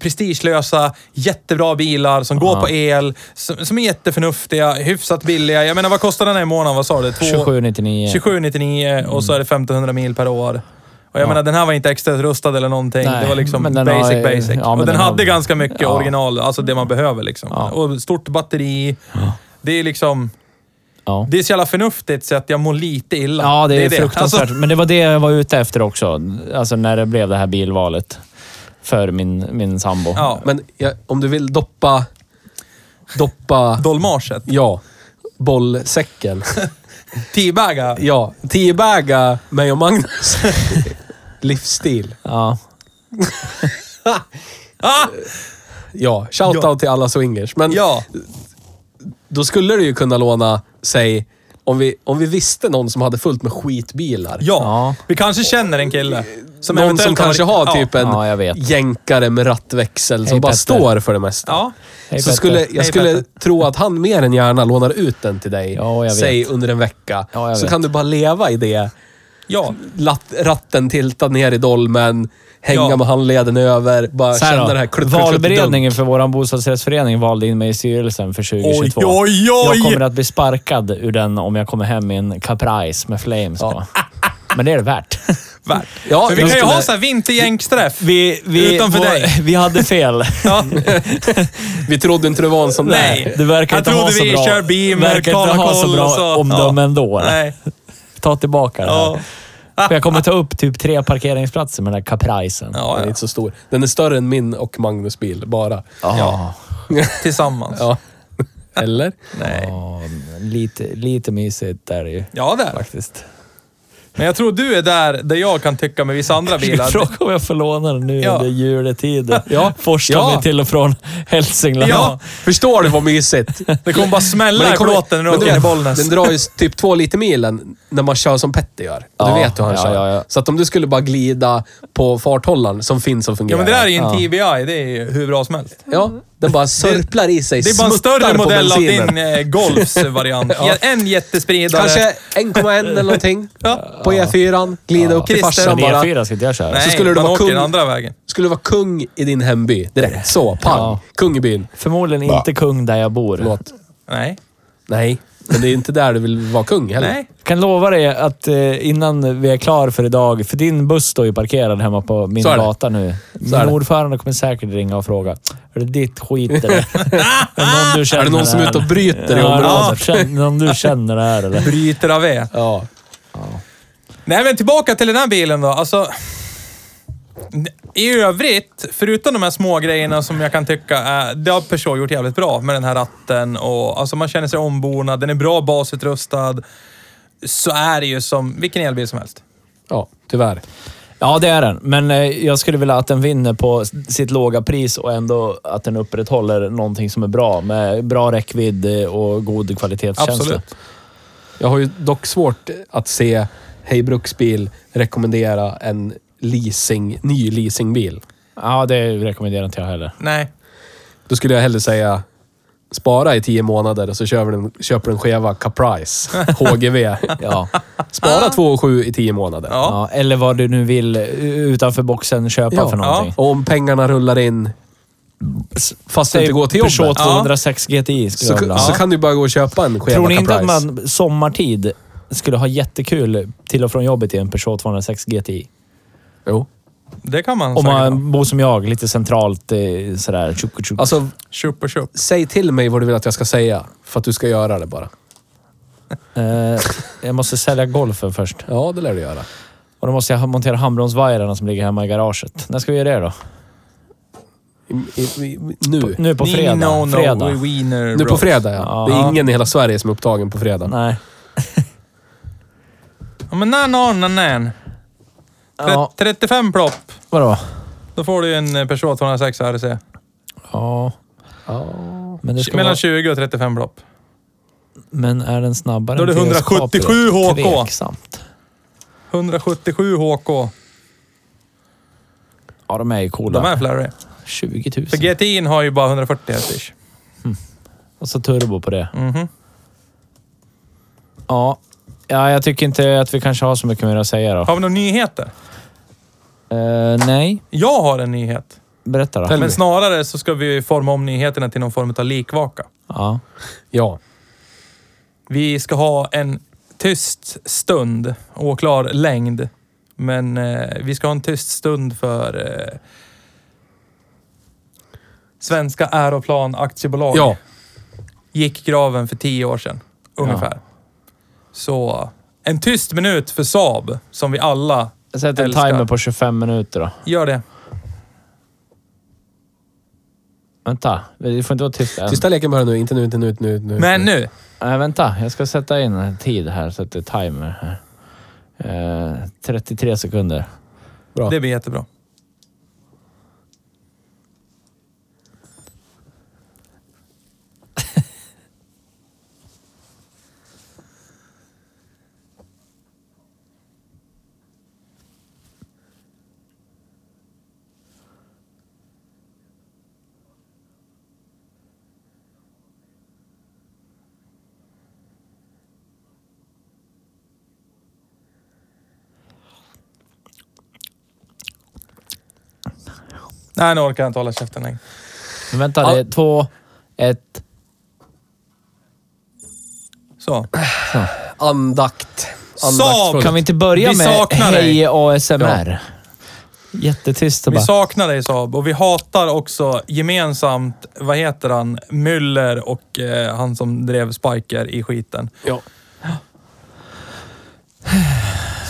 prestigelösa, jättebra bilar som går på el, som, som är jätteförnuftiga, hyfsat billiga. Jag menar, vad kostar den här i månaden? Vad sa du? Två- 2799. 27,99 och Mm. så är det 1500 mil per år. Och jag Ja. menar, den här var inte extra rustad eller någonting. Nej, det var liksom men basic, den har- basic. ja, men och den, den har- hade ganska mycket Ja. original, alltså det man behöver liksom. Ja. Och stort batteri. Det är liksom... Ja. Det är så jävla förnuftigt så att jag mår lite illa. Ja, det är, fruktansvärt. Alltså, Men det var det jag var ute efter också. Alltså när det blev det här bilvalet. För min, min sambo. ja, Men jag, om du vill doppa... Doppa... dolmarset. Ja. *laughs* Bollsäcken. Teabaga. Ja. Tiobäga mig *laughs* och Magnus. Livsstil. Ja. Ah! Ja. Shoutout Ja. till alla swingers. Men Ja, då skulle du ju kunna låna, säg, om vi, om vi visste någon som hade fullt med skitbilar. ja. Ja. Vi kanske känner en kille. Som någon eventuellt som har- kanske har ja. typ en Ja, jag vet. jänkare med rattväxel som Hej, bara Petter. står för det mesta. Ja. Hej, så Petter. skulle, jag Hej, skulle Petter. tro att han mer än gärna lånar ut den till dig, Ja, jag vet. säg under en vecka. Ja, jag så vet. kan du bara leva i det. Ja. Latt, ratten tiltad ner i dolmen, hänga Ja. med handleden över, bara Så här känna då. det här klutt, klutt, klutt, dunk. Valberedningen för vår bostadsrättsförening valde in mig i styrelsen för 2022. Oj, oj, oj! Jag kommer att bli sparkad ur den om jag kommer hem i en Caprice med flames på. Men det är det värt. Värt. Ja, För vi jag kan ju skulle- ha så här vintergängsträff. Vi, vi, Utanför vår- dig. vi hade fel. Ja. *laughs* Vi trodde inte det var en sån Nej. där. Du verkar Jag inte ha trodde så vi bra, kör Beamer, verkar inte ha så Carl bra och så. omdöme Ja. ändå. Nej. Ta tillbaka det Ja. här. För jag kommer ta upp typ tre parkeringsplatser med den här Capricen. Den Ja, är ja. inte så stor. Den är större än min och Magnus bil, bara. Ah. Ja. Tillsammans. Ja. Eller? Nej. Ja, Lite, lite mysigt där ju. Ja, det är det. Faktiskt. Men jag tror du är där, där jag kan tycka med vissa andra Ska bilar. *laughs* fråga om jag får låna den nu Ja. under juletider. Ja. Forslar Ja. mig till och från Hälsingland. Ja. Förstår du vad mysigt? Det kommer bara Men smälla i den kommer- plåten när du men åker du in i vet, Bollnäs. Den drar ju typ två liter milen när man kör som Petter gör. Och Ja, du vet hur han ja, kör. ja, ja. Så att om du skulle bara glida på farthållaren som finns och Ja, fungerar. men det där är ju en Ja. TBI. Det är ju hur bra som helst. Ja, den bara sörplar i sig, Det är bara en smuttar större på modell av bensinen. din eh, Golfs *laughs* variant. En jättespridare. Kanske 1,1 eller någonting Ja. på E4. Glida upp till Christer, E farsan Men bara. E4 ska inte jag köra. Nej, så skulle du man vara åker kung. den andra vägen. Skulle vara kung i din hemby direkt. Så, pang. Ja. Kung i byn. Förmodligen inte kung där jag bor. Förlåt. Nej. Nej, men det är inte där du vill vara kung heller. Nej. Jag kan lova dig att eh, innan vi är klar för idag, för din buss står ju parkerad hemma på min Så är det. gata nu. Min är det. ordförande kommer säkert ringa och fråga. Är det ditt skit *laughs* eller? är det någon du känner Är det någon som är här? ute och bryter i Ja, är det området? någon, som känner- någon du känner här eller? Bryter av E. Ja. Nej, men tillbaka till den här bilen då. Alltså, I övrigt, förutom de här små grejerna som jag kan tycka är... Det har Peugeot gjort jävligt bra med den här ratten och alltså man känner sig ombonad. Den är bra basutrustad. Så är det ju som vilken elbil som helst. Ja, tyvärr. Ja, det är den. Men eh, jag skulle vilja att den vinner på s- sitt låga pris och ändå att den upprätthåller någonting som är bra med bra räckvidd eh, och god kvalitetskänsla. Absolut. Jag har ju dock svårt att se Hej Bruksbil rekommendera en leasing, ny leasingbil. Ja, det rekommenderar inte jag heller. Nej. Då skulle jag hellre säga spara i tio månader och så köper du en, köper du en *laughs* skeva Caprice HGV. Ja. Spara 2,7 i tio månader. Ja. Ja, eller vad du nu vill eh, utanför boxen köpa Ja, för någonting. Och om pengarna rullar in fast du inte går till Peugeot jobbet 206 GTI skulle så, jag vilja ha. så kan du bara gå och köpa en skeva Tror ni inte Caprice. att man sommartid skulle ha jättekul till och från jobbet i en Peugeot 206 GTI? Jo. Det kan man Om säkert ha. man bor som jag, lite centralt eh, sådär. Tjuk, tjuk. Alltså, Tjup och tjup. säg till mig vad du vill att jag ska säga för att du ska göra det bara. Eh, jag måste sälja golfen först. Ja, det lär du göra. Och då måste jag montera handbromsvajrarna som ligger hemma i garaget. När ska vi göra det då? I, i, i, nu. Nu på fredag. No, no, fredag. we wiener Nu på bros. fredag, ja. Det är Ja. ingen i hela Sverige som är upptagen på fredag. Nej. Ja, men nej, nej, nej, nej. Tre- Ja, 35 plopp. vadå? Då får du ju en eh, Peugeot 206 RC. Ja, men, det ska Mellan vara, 20 och 35 plopp. men är den snabbare Då är det än Theos Caprio? 177 HK. Tveksamt. 177 HK. Ja, de är ju coola. De är flärriga. 20 000. För GTI'n har ju bara 140 hästish. Och så turbo på det. Mhm. Ja, Ja, jag tycker inte att vi kanske har så mycket mer att säga då. Har vi några nyheter? Eh, nej, Jag har en nyhet. berätta då. Tell- Men me. snarare så ska vi forma om nyheterna till någon form av likvaka. Ja. Ja. Vi ska ha en tyst stund, oklar längd. Men eh, vi ska ha en tyst stund för eh, Svenska Aeroplan Aktiebolag. Ja. Gick graven för tio år sedan, ungefär. Så en tyst minut för Saab, som vi alla Jag sätter en Älskar. timer på 25 minuter då. gör det. Vänta, vi får inte vara tysta än. Tysta leken börjar nu. Inte nu, inte nu, inte nu. inte nu. Men nu, Nej, vänta. Jag ska sätta in en tid här. Sätter timer här. Eh, 33 sekunder. Bra. det blir jättebra. Nej, nu orkar jag inte hålla käften längre. Men vänta, det är två, ett... Så. Andakt. Saab! Kan vi inte börja Vi med saknar dig. Hej ASMR? Jättetyst och Vi bara... saknar dig Saab och vi hatar också gemensamt, vad heter han, Müller och eh, han som drev Spiker i skiten. Ja.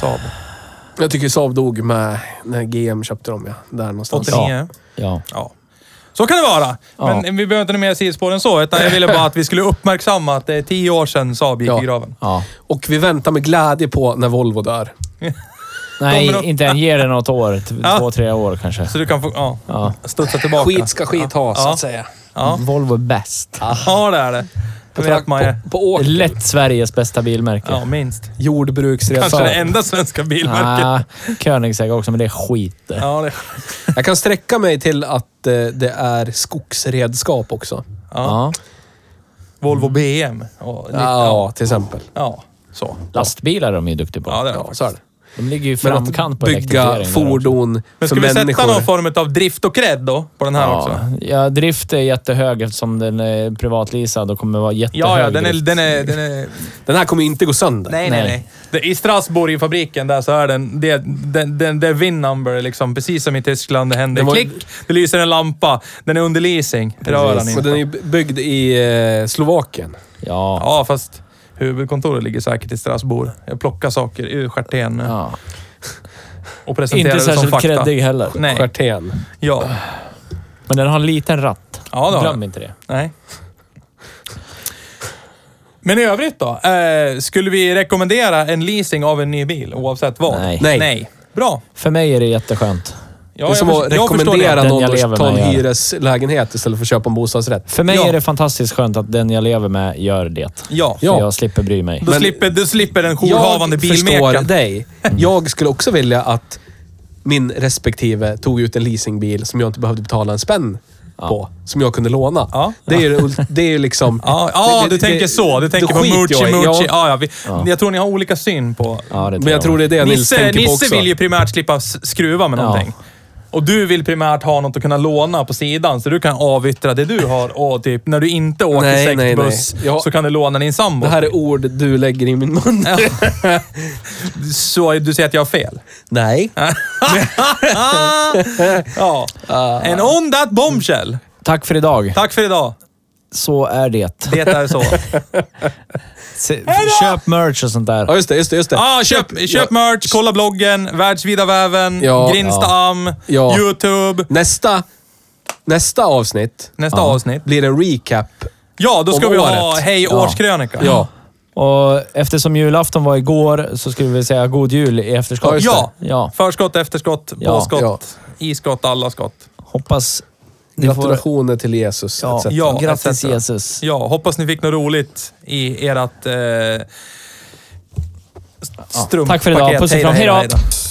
Saab. Jag tycker Saab dog med när GM köpte dem, ja. Där någonstans. 89. Ja. Ja. Ja. Så kan det vara. Men vi behöver inte mer sidospår än så. Utan jag ville bara att vi skulle uppmärksamma att det är tio år sedan Saab gick Ja. i graven. ja. Och vi väntar med glädje på när Volvo dör. Nej, Kommer de- inte än. Ge det något år. T- Ja. Två, tre år kanske. Så du kan få ja, Ja. studsa tillbaka. Skit ska skit ha, så Ja. att säga. Ja. Volvo är bäst. Ja, det är det. Det vet man ju. på, på åker. Lätt Sveriges bästa bilmärke. Ja, minst. Jordbruksresa. Kanske det enda svenska bilmärket. Ah, Koenigsegg också, men det är skit det. Ja, det, Jag kan sträcka mig till att eh, det är skogsredskap också. Ja. Volvo BM. Och, Ja, till exempel. ja, så. Lastbilar är de ju duktiga på. Ja, det är det Ja, faktiskt. så är det. De ligger ju i Men framkant att på bygga elektrifiering där också. fordon Men för ska vi sätta någon människor. form av drift och cred då, på den här också? Ja, drift är jättehög eftersom den är privatleasad och kommer vara jättehög. Ja, ja, den är... drift. Den är, den är Den här kommer ju inte gå sönder. nej, nej, nej. Det, I Strasbourg, i fabriken där, så är den... Det, den, den, det är VIN-number liksom, precis som i Tyskland. Det händer Den var- klick, det lyser en lampa. Den är under leasing. Rör han Och inte. den är ju byggd i eh, Slovakien. Ja. Ja, fast huvudkontoret ligger säkert i Strasbourg. Jag plockar saker ur stjärten ja. och presenterar Inte det som särskilt fakta. kreddig heller. Nej. Stjärtén. Ja. Men den har en liten ratt. Ja, det har Glöm den. inte det. Nej. Men i övrigt då? Eh, skulle vi rekommendera en leasing av en ny bil oavsett vad? Nej. Nej. Bra. För mig är det jätteskönt. Ja, det är som jag, att förs- jag förstår rekommendera det. Den någon jag lever att ta en med gör det. hyreslägenhet istället för att köpa en bostadsrätt. För mig Ja. är det fantastiskt skönt att den jag lever med gör det. Ja. Ja. Ja. För jag slipper bry mig. Då, Men- slipper, då slipper den jourhavande jag förstår bilmekaren. dig. Jag skulle också vilja att min respektive tog ut en leasingbil som jag inte behövde betala en spänn på. Som jag kunde låna. Ja. Det är ju det det är ju liksom... *laughs* Ja, ja det- du det- tänker det- så. Du då tänker på skiter Mucci, jag i- Mucci. Ja, Ja, ja, vi, Jag tror ni har olika syn på... Ja, det men jag tror det är det Nils Nisse, tänker på också. Nisse vill ju primärt slippa s- skruva med Ja. någonting. Och du vill primärt ha något att kunna låna på sidan, så du kan avyttra det du har. Och typ, när du inte åker Nej, nej, sektbuss nej. Jag- så kan du låna din sambo. Det här är ord du lägger i min mun. Så du säger att jag har fel? *laughs* Nej. Ja. Ah. And on that bombshell. Tack för idag. Tack för idag. Så är det. Det är *laughs* så. Se, köp merch och sånt där. Ja, just det. Just det, just det. Ah, köp köp merch, kolla bloggen, Världsvida väven, Ja. Grindstam, Ja. YouTube. Nästa, nästa avsnitt Nästa avsnitt. blir en recap. Ja, då ska Om vi ha året. Hej Ja. årskrönika. Ja. Och eftersom julafton var igår så skulle vi säga god jul i efterskott. Ja, just det. Ja. ja. Förskott, efterskott, Ja. påskott, Ja. iskott, alla skott. Hoppas ni får... Gratulationer till Jesus. Ja, etc. Ja, grattis etc. Jesus. Ja, hoppas ni fick något roligt i ert eh, strumppaket. Tack för idag. Puss och Hej då, kram. Hej då. hej då.